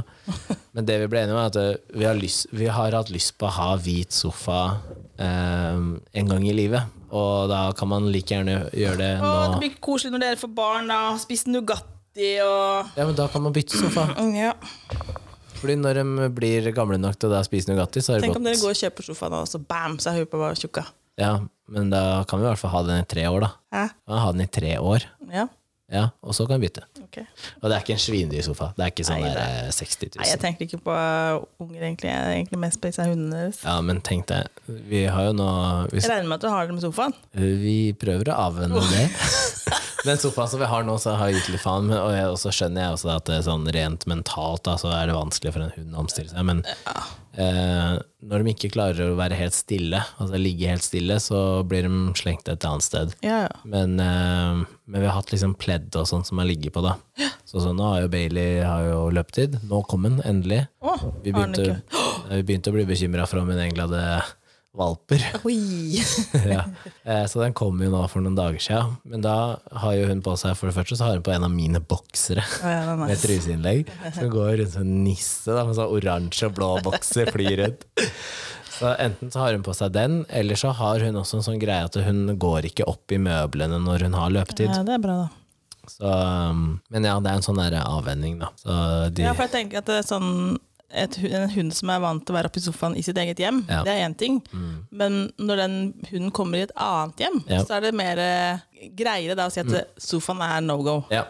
A: Men det vi ble enige om, er at eh, vi har, lyst, vi har hatt lyst på å ha hvit sofa eh, en gang i livet. Og da kan man like gjerne gjøre det
B: Å, det
A: nå.
B: blir koselig når dere får barn, da. Har Spist Nugatti og Mm,
A: Ja, men da kan man bytte sofa.
B: ja.
A: Fordi når de blir gamle nok til å da spise Nugatti, så er det
B: Tenk om dere
A: godt.
B: går og kjøper sofaen, og så bam, så er hun på bare tjukka.
A: Ja, men da kan vi i hvert fall ha den i tre år, da.
B: Hæ?
A: Kan vi ha den i tre år,
B: Ja,
A: ja, og så kan vi bytte.
B: ok. Nei,
A: Og det er ikke en svindyr sofa. Det er ikke sånn der eh, 60 000.
B: jeg tenker ikke på uh, unger, egentlig. Jeg er egentlig mest på disse hundene deres.
A: Ja, men tenk deg, vi har jo nå vi,
B: Jeg regner med at dere har dem i sofaen.
A: vi prøver å avvenne det. Den sofaen som vi har nå, så har jeg gitt litt faen. men- Og jeg, og så skjønner jeg også at det er sånn rent mentalt da, så er det vanskelig for en hund å omstille seg. Men eh, når de ikke klarer å være helt stille, altså ligge helt stille, så blir de slengt et annet sted.
B: Ja, ja.
A: Men, eh, men vi har hatt liksom pledd og sånn som har ligget på, da. Så, så nå har jo Bailey har jo løpetid. Nå kom den, endelig.
B: Å,
A: Vi
B: har den
A: begynte, vi begynte å bli bekymra for om hun egentlig hadde valper.
C: Oi!
A: ja. Eh, Så den kom jo nå for noen dager siden. Men da har jo hun på seg For det første så har hun på en av mine boksere
B: Ja, ja, den er-
A: med truseinnlegg. Så hun går rundt som en nisse da, med sånn oransje og blå bokser flyr rundt. Så enten så har hun på seg den, eller så har hun også en sånn greie at hun går ikke opp i møblene når hun har løpetid.
B: Ja, det er bra, da.
A: Så, um, men ja, det er en sånn der avvenning, da. Så de,
B: Ja, for jeg tenker at det er sånn et, hu- en hund som er vant til å være oppe i sofaen i sitt eget hjem,
A: Ja. Mm.
B: det er én ting. Men når den hunden kommer i et annet hjem,
A: Ja. Mm.
B: så er det mer eh, greiere da å si at sofaen er no go.
A: Ja.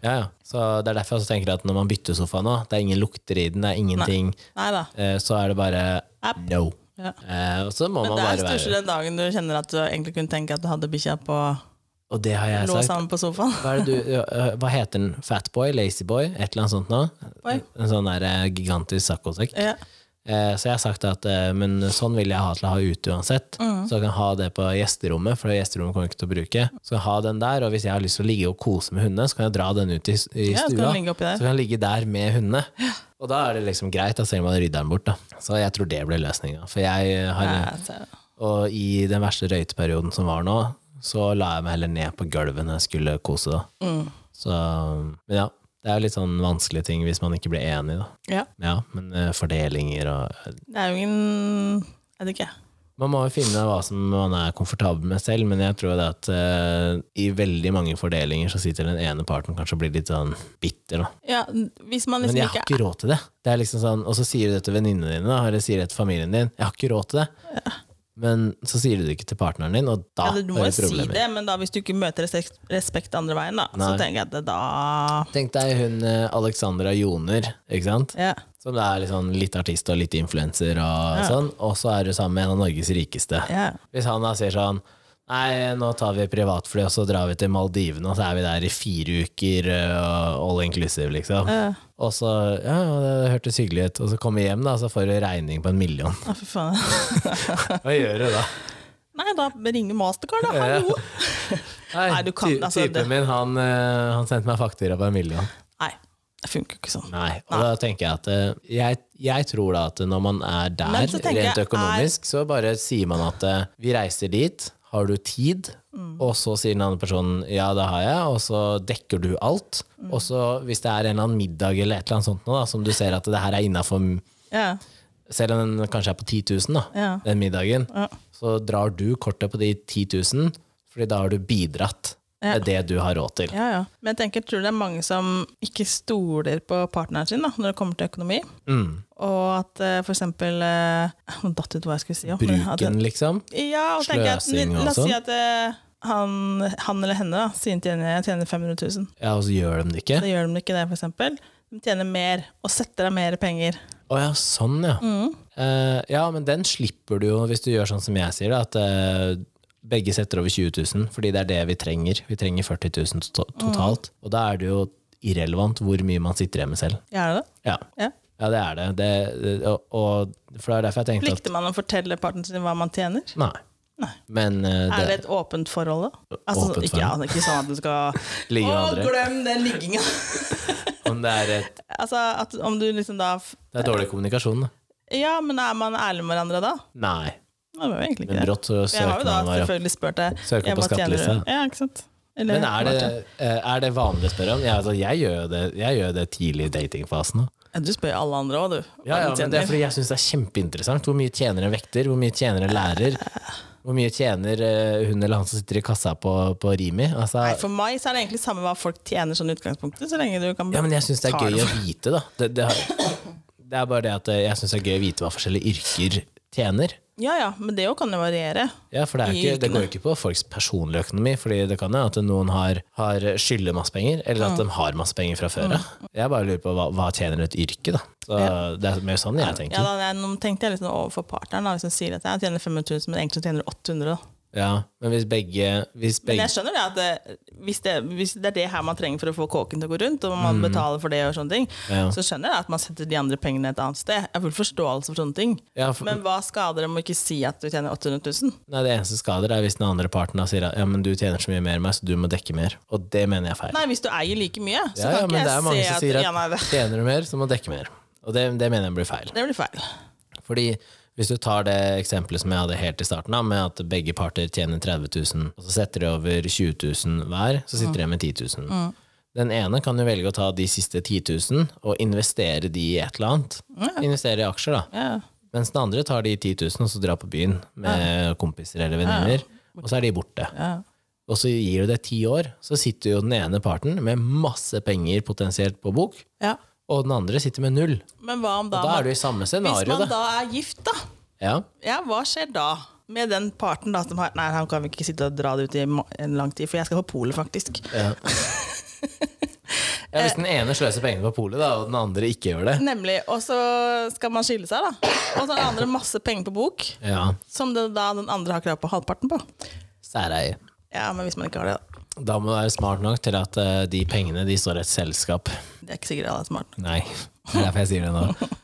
A: Ja, ja. Så det er derfor jeg også tenker at når man bytter sofa nå, det er ingen lukter i den, det er ingenting,
B: Nei da.
A: eh, så er det bare
B: App.
A: no.
B: Ja.
A: Eh, og så må
B: Men
A: man
B: det er
A: bare
B: stusslig
A: være
B: den dagen du kjenner at du egentlig kunne tenke at du hadde bikkja på
A: Og det har jeg
B: lå
A: sagt.
B: sammen på sofaen.
A: Hva, er det du, ja, eh, hhva heter den? Fatboy? Lazyboy? Et eller annet sånt nå?
B: Boy.
A: En sånn der eh, gigantisk saccosekk.
B: Ja.
A: Eh, så jeg har sagt at eh, men sånn vil jeg ha til å ha ute uansett.
B: Mm.
A: Så jeg kan ha det på gjesterommet, for gjesterommet kommer jeg ikke til å bruke. Så jeg ha den der, og hvis jeg har lyst til å ligge og kose med hundene, så kan jeg dra den ut i, i
B: Ja, så kan
A: stua.
B: den ligge oppi der.
A: så kan jeg ligge der med hundene. Og da er det liksom greit, da selv om man rydder den bort. Da. Så jeg tror det ble løsninga. For jeg eh, har
B: Ja, så-
A: Og i den verste røyteperioden som var nå, så la jeg meg heller ned på gulvet når jeg skulle kose, da.
B: mm.
A: Så Men ja, det er jo litt sånn vanskelige ting hvis man ikke blir enig, da.
B: ja.
A: Ja, men eh, fordelinger og
B: Det er jo ingen Jeg vet ikke.
A: Man må jo finne hva som man er komfortabel med selv, men jeg tror det at eh, i veldig mange fordelinger så sitter den ene parten kanskje og blir litt sånn bitter, da.
B: Ja, hvis man
A: Men
B: liksom
A: jeg har
B: ikke
A: ikke råd til det. det er liksom sånn, og så sier du det til venninnene dine, da, eller sier det til familien din. Jeg har ikke råd til det. Men så sier du det ikke til partneren din, og da
B: ja, Du må
A: er
B: jo
A: det
B: si
A: problemer.
B: det, men da hvis du ikke møter respekt, respekt andre veien, da, så
A: Nei.
B: tenker jeg at det da
A: Tenk deg hun eh, Alexandra Joner, ikke sant?
B: ja.
A: Som er litt sånn litt artist og litt influenser og sånn. Og så er du sammen med en av Norges rikeste.
B: Ja.
A: Hvis han da sier sånn Nei, nå tar vi privatfly, og så drar vi til Maldivene, og så er vi der i fire uker, eh, all inclusive, liksom.
B: Ja.
A: Og så Ja, ja, det hørtes hyggelig ut. Og så kommer vi hjem, da, og så får du regning på en million.
B: Å, fy faen.
A: Hva gjør du da?
B: Nei, da ringer Mastercard, da. Hallo!
A: Nei,
B: Nei, du kan-
A: ty-
B: altså, det-
A: typen min, han, eh, han sendte meg faktura på en million.
B: Nei, det funker ikke sånn.
A: Nei, og da tenker jeg at eh, jeg, jeg tror da at når man er der,
B: Men så tenker
A: rent
B: jeg, er-
A: økonomisk, så bare sier man at eh, vi reiser dit, har du tid?
B: Mm.
A: Og så sier den andre personen ja, det har jeg, og så dekker du alt.
B: Mm.
A: Og så hvis det er en eller annen middag eller et eller annet sånt nå, da, som du ser at det her er innafor
B: Ja.
A: selv om den kanskje er på 10 000, da,
B: Ja.
A: den middagen,
B: Ja.
A: så drar du kortet på de 10 000, fordi da har du bidratt
B: Ja.
A: med det du har råd til.
B: Ja, ja. Men jeg tenker, tror du det er mange som ikke stoler på partneren sin da, når det kommer til økonomi?
A: Mm.
B: Og at eh, for eksempel eh, Nå datt ut hva jeg skulle si. ja, men at-
A: Bruken, liksom.
B: Ja, og tenker jeg
A: Sløsing
B: at,
A: og
B: La oss si
A: sånn.
B: at eh, han, han eller henne da, sier at jeg tjener 500 000.
A: Ja, og så gjør de det ikke.
B: Da gjør de ikke det, for eksempel. De tjener mer, og setter av mer penger.
A: Å ja, sånn ja.
B: Mm.
A: Eh, ja, men den slipper du jo hvis du gjør sånn som jeg sier, da, at eh, begge setter over 20 000, fordi det er det vi trenger. Vi trenger 40 000 to totalt.
B: Mm.
A: Og da er det jo irrelevant hvor mye man sitter igjen med selv.
B: Gjør det det?
A: Ja,
B: Ja.
A: ja det er det. det, det og, og, for det er derfor jeg tenkte at
B: Plikter man å fortelle partneren sin hva man tjener?
A: Nei.
B: Nei.
A: Men eh,
B: Er det
A: det,
B: et åpent forhold, da? Altså,
A: Åpent
B: ikke, ja, det er ikke sånn at du skal
A: Ligge med
B: Å,
A: andre.
B: glem den ligginga!
A: om det er et,
B: altså, at, om du liksom da f-
A: det er dårlig kommunikasjon, da.
B: Ja, men er man ærlig med hverandre da?
A: Nei.
B: Nei, Det var jo egentlig
A: Men
B: ikke det.
A: brått så
B: Jeg har
A: søker
B: jo da
A: man bare opp.
B: selvfølgelig spurt deg
A: Søker
B: ja,
A: på
B: hva tjener du?
A: skattelista.
B: Ja, ikke sant? Eller-
A: Men er det, eh, er det vanlig å spørre om? Ja, altså, jeg gjør jo det, jeg gjør det tidlig i datingfasen. Da.
B: Ja, Du spør jo alle andre òg, du.
A: Ja, ja,
B: Hva de
A: men det er
B: tjener.
A: fordi jeg syns det er kjempeinteressant. Hvor mye tjener en vekter? Hvor mye tjener en lærer? Hvor mye tjener eh, hun eller han som sitter i kassa på, på Rimi? Altså,
B: Nei, for meg så er det egentlig samme hva folk tjener sånn i utgangspunktet, så lenge du kan
A: ja, men jeg syns det er
B: ta
A: gøy å vite, da. Det, det, har, det er bare det at eh, jeg syns det er gøy å vite hva forskjellige yrker tjener.
B: Ja ja, men det jo kan jo variere.
A: Ja, for det, er jo
B: I
A: ikke, det
B: yrkene.
A: går jo ikke på folks personlige økonomi, Fordi det kan jo at noen har, har skylder masse penger, eller
B: Mm.
A: at de har masse penger fra før av. Jeg bare lurer på hva, hva tjener et yrke, da. Så Det er mer sånn jeg
B: Ja,
A: tenker.
B: da, jeg, nå tenkte jeg litt sånn overfor partneren, da, hvis han sier at jeg tjener 500 000, men egentlig tjener du 800 da.
A: Ja, men hvis begge, hvis
B: Men
A: begge
B: jeg skjønner det at det, hvis, det, hvis det er det her man trenger for å få kåken til å gå rundt, og man betaler for det og sånne ting,
A: Mm. Ja.
B: så skjønner jeg at man setter de andre pengene et annet sted. Jeg har full forståelse for sånne ting.
A: ja, for,
B: Men hva skader det om å ikke si at du tjener 800 000?
A: Nei, Det eneste skader er hvis den andre parten da sier at ja, men du tjener så mye mer enn meg, så du må dekke mer. Og det mener jeg er feil.
B: Nei, hvis du eier like mye, så
A: ja, ja,
B: kan
A: men det er
B: ikke
A: mange
B: jeg se
A: som
B: at,
A: sier at
B: ja, nei, det,
A: tjener du mer, så må du dekke mer. Og det, det mener jeg blir feil.
B: det blir feil.
A: Fordi Hvis du tar det eksempelet som jeg hadde helt i starten, da, med at begge parter tjener 30 000, og så setter de over 20 000 hver, så
B: Mm.
A: sitter de med 10 000. Den ene kan jo velge å ta de siste 10 000 og investere de i et eller annet. Investere i aksjer, da.
B: Ja.
A: Mens den andre tar de 10 000 og så drar på byen med kompiser eller venninner, og så er de borte. Og så gir du det ti år, så sitter jo den ene parten med masse penger potensielt på bok,
B: ja.
A: og den andre sitter med null.
B: Men hva om da,
A: Da er du i samme
B: Hvis
A: scenario, da.
B: man da er gift, da,
A: Ja.
B: ja, hva skjer da? Med den parten da som har Nei, han kan vi ikke sitte og dra det ut i ma- en lang tid, for jeg skal på polet, faktisk.
A: Ja.
B: Eh.
A: ja, hvis den ene sløser pengene på polet, da, og den andre ikke gjør det
B: Nemlig. Og så skal man skille seg, da. Og så har den andre masse penger på bok,
A: Ja,
B: som det, da den andre har krav på halvparten på.
A: særeie.
B: Ja, men hvis man ikke har det, da.
A: Da må du være smart nok til at eh, de pengene de står et selskap.
B: Det er ikke sikkert alle er smart.
A: Nei, det er derfor jeg sier det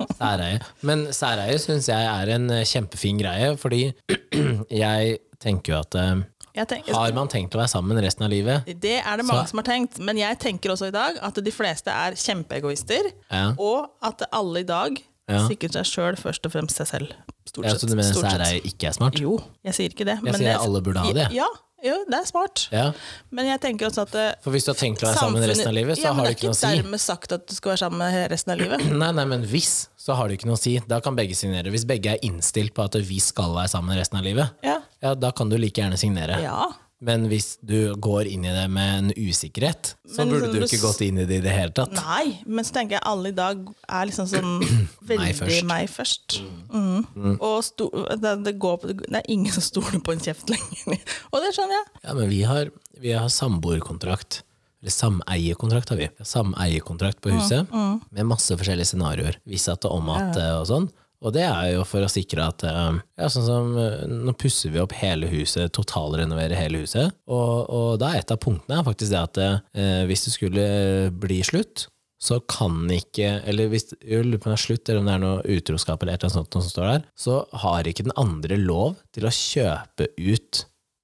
A: nå. Særeie. Men særeie syns jeg er en eh, kjempefin greie, fordi jeg tenker jo at eh,
B: Jeg tenker,
A: har man tenkt å være sammen resten av livet?
B: det er det mange som har tenkt, men jeg tenker også i dag at de fleste er kjempeegoister,
A: Ja.
B: og at alle i dag
A: Ja.
B: sikrer seg sjøl, først og fremst seg selv. Stort
A: Ja,
B: sett.
A: så du mener
B: Stort sett.
A: særeie ikke er smart?
B: Jo, jeg sier ikke det. men
A: sier alle burde ha det.
B: Ja, jo, det er smart.
A: Ja,
B: Men jeg tenker også at eh,
A: For hvis du har tenkt å være sammen resten av livet, så
B: ja, men
A: har det ikke noe å
B: Det er
A: si.
B: ikke dermed sagt at du skal være sammen med resten av livet.
A: Nei, nei, men hvis, så har det ikke noe å si. Da kan begge signere. Hvis begge er innstilt på at vi skal være sammen resten av livet,
B: Ja.
A: ja, da kan du like gjerne signere.
B: ja.
A: Men hvis du går inn i det med en usikkerhet, så
B: Men
A: burde
B: sånn
A: du
B: du
A: ikke
B: s-
A: gått inn i det i det hele tatt.
B: Nei, men så tenker jeg alle i dag er liksom sånn veldig meg
A: først.
B: først.
A: Mm.
B: Mhm. Og sto, det, det, går på, det er ingen som stoler på en kjeft lenger. Og det skjønner jeg.
A: Ja, men vi har, vi har samboerkontrakt. Eller sameiekontrakt har vi. Sameiekontrakt på huset med masse forskjellige scenarioer. Vi satte om at eh, og sånn. Og det er jo for å sikre at eh, ja, sånn som, eh, Nå pusser vi opp hele huset, totalrenoverer hele huset. Og, og da er et av punktene er faktisk det at eh, hvis det skulle bli slutt, så kan ikke Eller hvis jeg lurer på om det er slutt, eller om det er noe utroskap eller et eller annet sånt som står der, så har ikke den andre lov til å kjøpe ut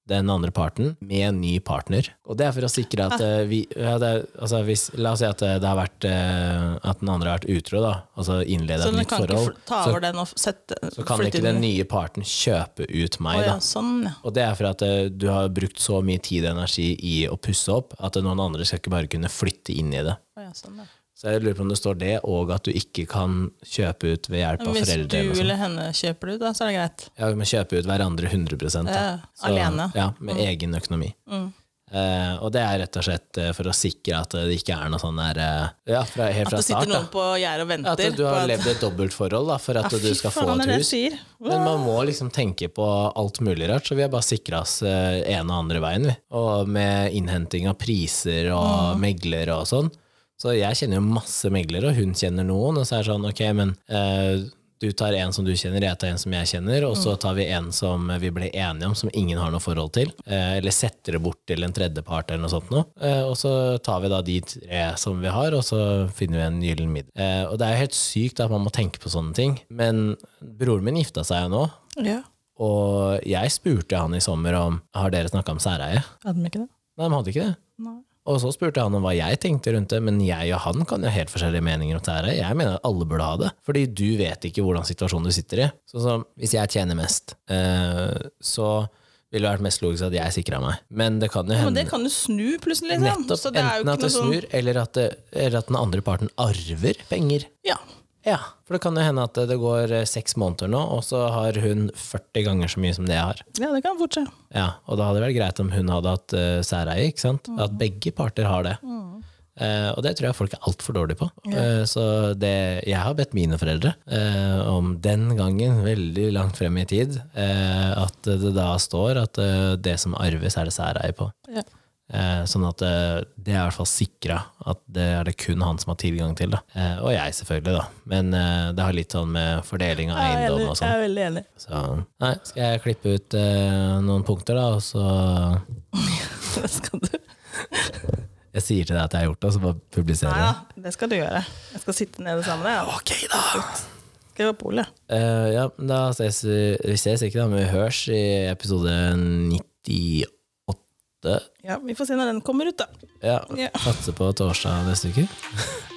A: den andre parten med en ny partner. Og det er for å sikre at eh, vi ja, det, er- altså hvis, La oss si at eh, det har vært eh, At den andre har vært utro, da. Altså innleda
B: Så
A: et
B: du
A: nytt
B: kan
A: forhold.
B: ikke fl- ta
A: så,
B: over den og sette
A: så kan ikke den nye parten kjøpe ut meg,
B: ja,
A: da.
B: sånn, ja.
A: Og det er for at eh, du har brukt så mye tid og energi i å pusse opp at eh, noen andre skal ikke bare kunne flytte inn i det.
B: Å, ja, sånn ja.
A: Så jeg lurer på om det står det, og at du ikke kan kjøpe ut ved hjelp av
B: Hvis
A: foreldre. eller
B: du
A: sånn. noe sånt.
B: eller henne kjøper det ut, da, så er det greit.
A: Ja, vi må kjøpe ut hverandre 100 da.
B: Ja, alene. Mm.
A: Ja, Med egen økonomi. Eh, og det er rett og slett eh, for å sikre at det ikke er noe sånn der eh, Ja, fra, helt
B: At
A: fra
B: det sitter
A: start, da.
B: noen på gjerdet og venter.
A: At du
B: på
A: har
B: at-
A: levd et dobbeltforhold da, for at
B: Ja,
A: du
B: fy
A: skal få
B: faen, det er
A: et
B: det
A: hus.
B: jeg sier.
A: Men man må liksom tenke på alt mulig rart, så vi har bare sikra oss eh, ene og andre veien, vi. Og med innhenting av priser
B: Mm.
A: og meglere og sånn. Så jeg kjenner jo masse meglere, og hun kjenner noen, og så er det sånn, ok, men eh, du tar en som du kjenner, jeg tar en som jeg kjenner, og så tar vi en som vi ble enige om, som ingen har noe forhold til, eh, eller setter det bort til en tredjepart eller noe sånt noe. Eh, Og så tar vi da de tre som vi har, og så finner vi en gyllen middel. Eh, Og det er jo helt sykt at man må tenke på sånne ting, men broren min gifta seg jo nå,
B: Ja,
A: og jeg spurte han i sommer om har dere snakka om særeie.
B: hadde de ikke det?
A: Nei, de hadde ikke det.
B: Nei.
A: Og så spurte han om hva jeg tenkte rundt det, men jeg og han kan jo ha helt forskjellige meninger om særeie. Jeg mener at alle burde ha det, fordi du vet ikke hvordan situasjonen du sitter i. Sånn som hvis jeg tjener mest, eh, så ville det vært mest logisk at jeg sikra meg. Men det kan jo
B: Men
A: hende
B: det kan du snu plutselig, liksom.
A: nettopp
B: så det er jo
A: enten
B: ikke
A: at det
B: noe sånn
A: snur, eller at, det, eller at den andre parten arver penger.
B: Ja.
A: Ja, for det kan jo hende at det går eh, seks måneder nå, og så har hun 40 ganger så mye som det jeg har.
B: ja, det kan fort skje.
A: Ja, og da hadde det vært greit om hun hadde hatt uh, særeie, ikke sant? At begge parter har det. Eh, og det tror jeg folk er altfor dårlige på. Eh, så det, jeg har bedt mine foreldre eh, om den gangen, veldig langt frem i tid, eh, at det da står at eh, det som arves, er det særeie på.
B: Ja.
A: Eh, sånn at eh, det er i hvert fall sikra at det er det kun han som har tilgang til. Da. Eh, og jeg, selvfølgelig, da. Men eh, det har litt sånn med fordeling av
B: jeg, er
A: eiendom
B: enig.
A: og sånn.
B: jeg er veldig enig.
A: Så nei, skal jeg klippe ut eh, noen punkter, da, og så
B: Det skal du.
A: Jeg sier til deg at jeg har gjort det, og så bare publiserer
B: Nei
A: jeg.
B: da, det skal du gjøre. Jeg skal sitte nede sammen med deg.
A: Ok, da!
B: Skal jeg på polet?
A: Eh, ja, men da ses vi Vi ses ikke, da, men vi hørs i episode 98.
B: Ja, vi får se når den kommer ut, da.
A: Ja.
B: Ja.
A: Satser på torsdag neste uke.